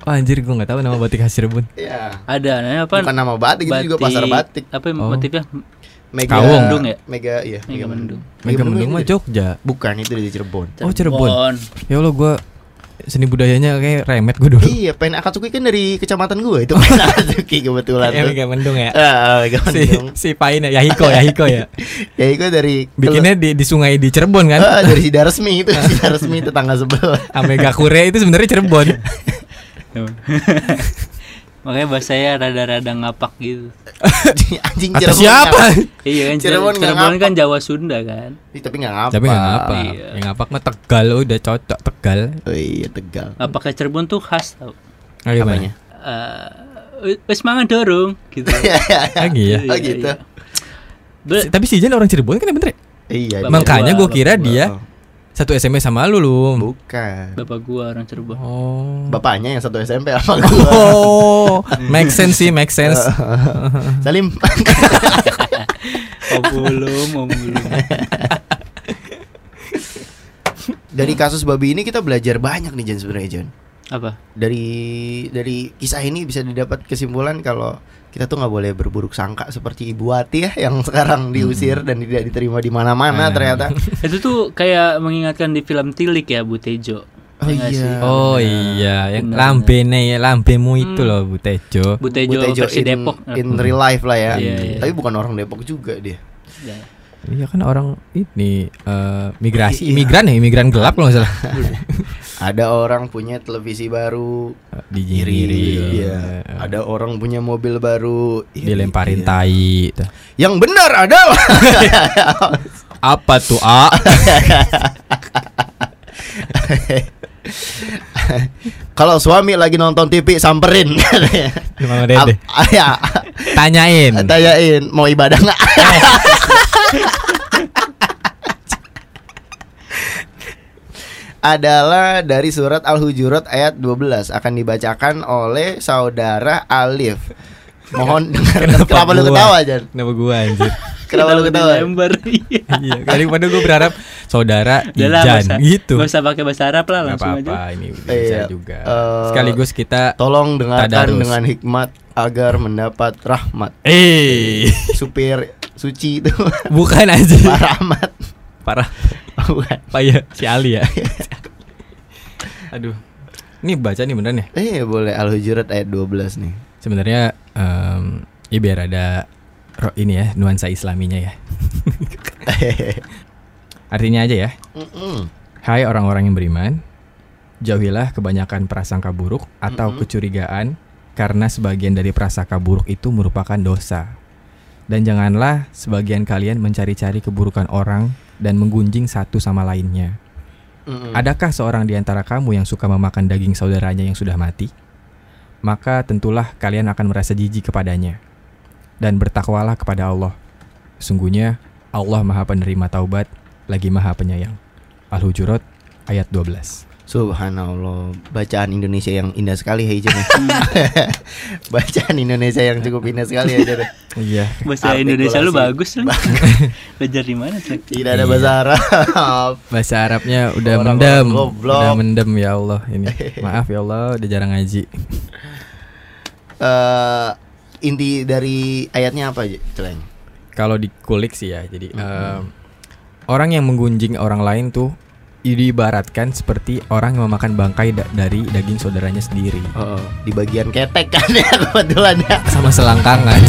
Speaker 3: Oh, anjir gue nggak tahu nama batik khas Cirebon.
Speaker 1: iya.
Speaker 2: Ada namanya apa?
Speaker 1: Bukan nama batik, itu juga pasar batik.
Speaker 2: Apa ya,
Speaker 3: Oh.
Speaker 2: motifnya?
Speaker 1: Mega
Speaker 3: Kawung.
Speaker 2: Mendung ya?
Speaker 1: Mega, iya.
Speaker 2: Mega Mendung.
Speaker 3: Mega Mendung mah
Speaker 1: itu dari-
Speaker 3: Jogja.
Speaker 1: Bukan itu dari Cirebon.
Speaker 3: Oh, Cirebon. Ya Allah gue seni budayanya kayak remet gue dulu.
Speaker 1: Iya, pen Akatsuki kan dari kecamatan gue itu pen Akatsuki kebetulan
Speaker 3: Eh,
Speaker 1: tuh.
Speaker 3: Mega Mendung ya.
Speaker 1: Ah, Mega
Speaker 3: Si
Speaker 1: Mendung.
Speaker 3: si Pain ya, Yahiko, Yahiko ya.
Speaker 1: Ya itu dari
Speaker 3: Bikinnya di, di sungai di Cirebon kan.
Speaker 1: Ah, dari Sidaresmi itu Sidaresmi tetangga sebelah.
Speaker 3: Amega Kure itu sebenarnya Cirebon.
Speaker 2: Makanya bahasa saya rada-rada ngapak gitu.
Speaker 1: Anjing Cirebon.
Speaker 3: Kata siapa?
Speaker 2: Iya
Speaker 1: Cirebon
Speaker 2: kan Cirebon,
Speaker 1: nggak
Speaker 2: Cirebon kan
Speaker 1: ngapak.
Speaker 2: Jawa Sunda kan.
Speaker 1: Ih, Tapi nggak ngapa.
Speaker 3: Tapi enggak apa.
Speaker 2: Iya.
Speaker 3: Yang ngapak mah Tegal oh, udah cocok Tegal.
Speaker 1: Oh, iya Tegal.
Speaker 2: Apakah Cirebon tuh khas tau?
Speaker 3: Ayo
Speaker 1: Apanya?
Speaker 3: gimana?
Speaker 2: Eh, wis mangan dorong gitu.
Speaker 1: Iya,
Speaker 3: Lagi ya.
Speaker 1: Oh, gitu.
Speaker 2: Iya. Be-
Speaker 3: Si- Tapi si Jan orang Cirebon kan ya bener. ya?
Speaker 1: Iya.
Speaker 2: Bapak
Speaker 3: Makanya
Speaker 2: gua,
Speaker 3: gue kira
Speaker 1: bapak
Speaker 3: dia
Speaker 1: Iya. gua.
Speaker 3: satu SMA sama
Speaker 1: dia-
Speaker 3: lu lu.
Speaker 1: Bukan.
Speaker 2: Bapak gua orang Cirebon.
Speaker 3: Oh.
Speaker 1: Bapaknya yang satu SMP sama gua.
Speaker 3: Oh, make sense sih, make sense.
Speaker 1: Salim.
Speaker 2: Oh belum, oh belum.
Speaker 1: Dari kasus babi ini kita belajar banyak nih Jan sebenarnya Jan.
Speaker 2: Apa?
Speaker 1: Dari dari kisah ini bisa didapat kesimpulan kalau kita tuh nggak boleh berburuk sangka seperti Ibu Wati ya yang
Speaker 2: Hmm.
Speaker 1: sekarang diusir dan tidak diterima di
Speaker 2: Ah.
Speaker 1: mana-mana
Speaker 3: Hmm.
Speaker 1: ternyata.
Speaker 2: itu tuh kayak mengingatkan di film Tilik ya Bu Tejo
Speaker 1: Oh
Speaker 2: Ya nggak sih?
Speaker 1: iya.
Speaker 3: Oh iya, yang
Speaker 2: Bener. Hmm.
Speaker 3: lambene ya, lambemu itu loh Bu Tejo.
Speaker 2: Bu Tejo, versi
Speaker 1: in,
Speaker 2: Depok Nah,
Speaker 1: in real life lah ya.
Speaker 2: Iya, iya.
Speaker 1: Tapi bukan orang Depok juga dia.
Speaker 2: Ya.
Speaker 3: Iya kan orang ini eh, migrasi,
Speaker 1: Iya.
Speaker 3: imigran ya, imigran gelap kalau nggak salah.
Speaker 1: Ada orang punya televisi baru
Speaker 3: Di
Speaker 1: iri, iya. Ada orang punya mobil baru iri,
Speaker 3: Dilemparin
Speaker 1: iya.
Speaker 3: tai. gitu. Tuh.
Speaker 1: Yang benar adalah
Speaker 3: Apa tuh, A?
Speaker 1: kalau suami lagi nonton TV samperin.
Speaker 3: Gimana
Speaker 1: Ap-
Speaker 3: Dede?
Speaker 1: ya,
Speaker 3: Tanyain.
Speaker 1: tanyain mau ibadah nggak? adalah dari surat Al-Hujurat ayat 12 akan dibacakan oleh saudara Alif. Mohon dengarkan. Kenapa lu
Speaker 3: gua?
Speaker 1: ketawa, Jan?
Speaker 3: Kenapa gua anjir?
Speaker 1: Kenapa lu ketawa?
Speaker 2: dilempar? Iya.
Speaker 3: iya, daripada gua berharap saudara
Speaker 2: Udah lah, nggak
Speaker 3: Ijan
Speaker 2: usah-
Speaker 3: gitu.
Speaker 2: nggak usah pakai bahasa Arab lah
Speaker 3: Gak
Speaker 2: langsung
Speaker 3: apa-apa
Speaker 2: aja.
Speaker 3: ini bisa
Speaker 1: Iya.
Speaker 3: juga.
Speaker 1: Eh,
Speaker 3: Sekaligus kita
Speaker 1: Tolong dengarkan
Speaker 3: Tadarus.
Speaker 1: dengan hikmat agar mendapat rahmat.
Speaker 3: eh
Speaker 1: Supir suci itu
Speaker 3: bukan aja
Speaker 1: Pak Rahmat. Oh,
Speaker 3: parah
Speaker 1: Bukan.
Speaker 3: Pak ya si Ali ya. Aduh. Ini baca nih beneran ya.
Speaker 1: Eh, boleh Al-Hujurat ayat 12 nih.
Speaker 3: Sebenarnya em ya biar ada ro- ini ya nuansa islaminya ya. Artinya aja ya.
Speaker 1: Mm-mm.
Speaker 3: Hai orang-orang yang beriman, jauhilah kebanyakan prasangka buruk atau
Speaker 1: Mm-mm.
Speaker 3: kecurigaan karena sebagian dari prasangka buruk itu merupakan dosa. Dan janganlah sebagian kalian mencari-cari keburukan orang dan menggunjing satu sama lainnya.
Speaker 1: Mm-mm.
Speaker 3: Adakah seorang di antara kamu yang suka memakan daging saudaranya yang sudah mati? Maka tentulah kalian akan merasa jijik kepadanya. Dan bertakwalah kepada Allah. Sungguhnya Allah Maha Penerima Taubat lagi Maha Penyayang. Al-Hujurat ayat 12.
Speaker 1: Subhanallah, bacaan Indonesia yang indah sekali ya Ijen. bacaan Indonesia yang cukup indah sekali ya Ijen.
Speaker 3: Iya.
Speaker 2: Bahasa Indonesia lu
Speaker 1: Artikulasi.
Speaker 2: bagus lu. Belajar di mana, Cek?
Speaker 1: Tidak ada bahasa Arab.
Speaker 3: Bahasa Arabnya udah
Speaker 1: Orang-orang
Speaker 3: mendem.
Speaker 1: goblok.
Speaker 3: Udah mendem ya Allah ini. Maaf ya Allah udah jarang ngaji.
Speaker 1: Eh, inti dari ayatnya apa aja, Celeng?
Speaker 3: Kalau dikulik sih ya. Jadi em, orang yang menggunjing orang lain tuh diibaratkan seperti orang yang memakan bangkai da- dari daging saudaranya sendiri
Speaker 1: Di bagian ketek kan ya kebetulan ya.
Speaker 3: sama selangkangan.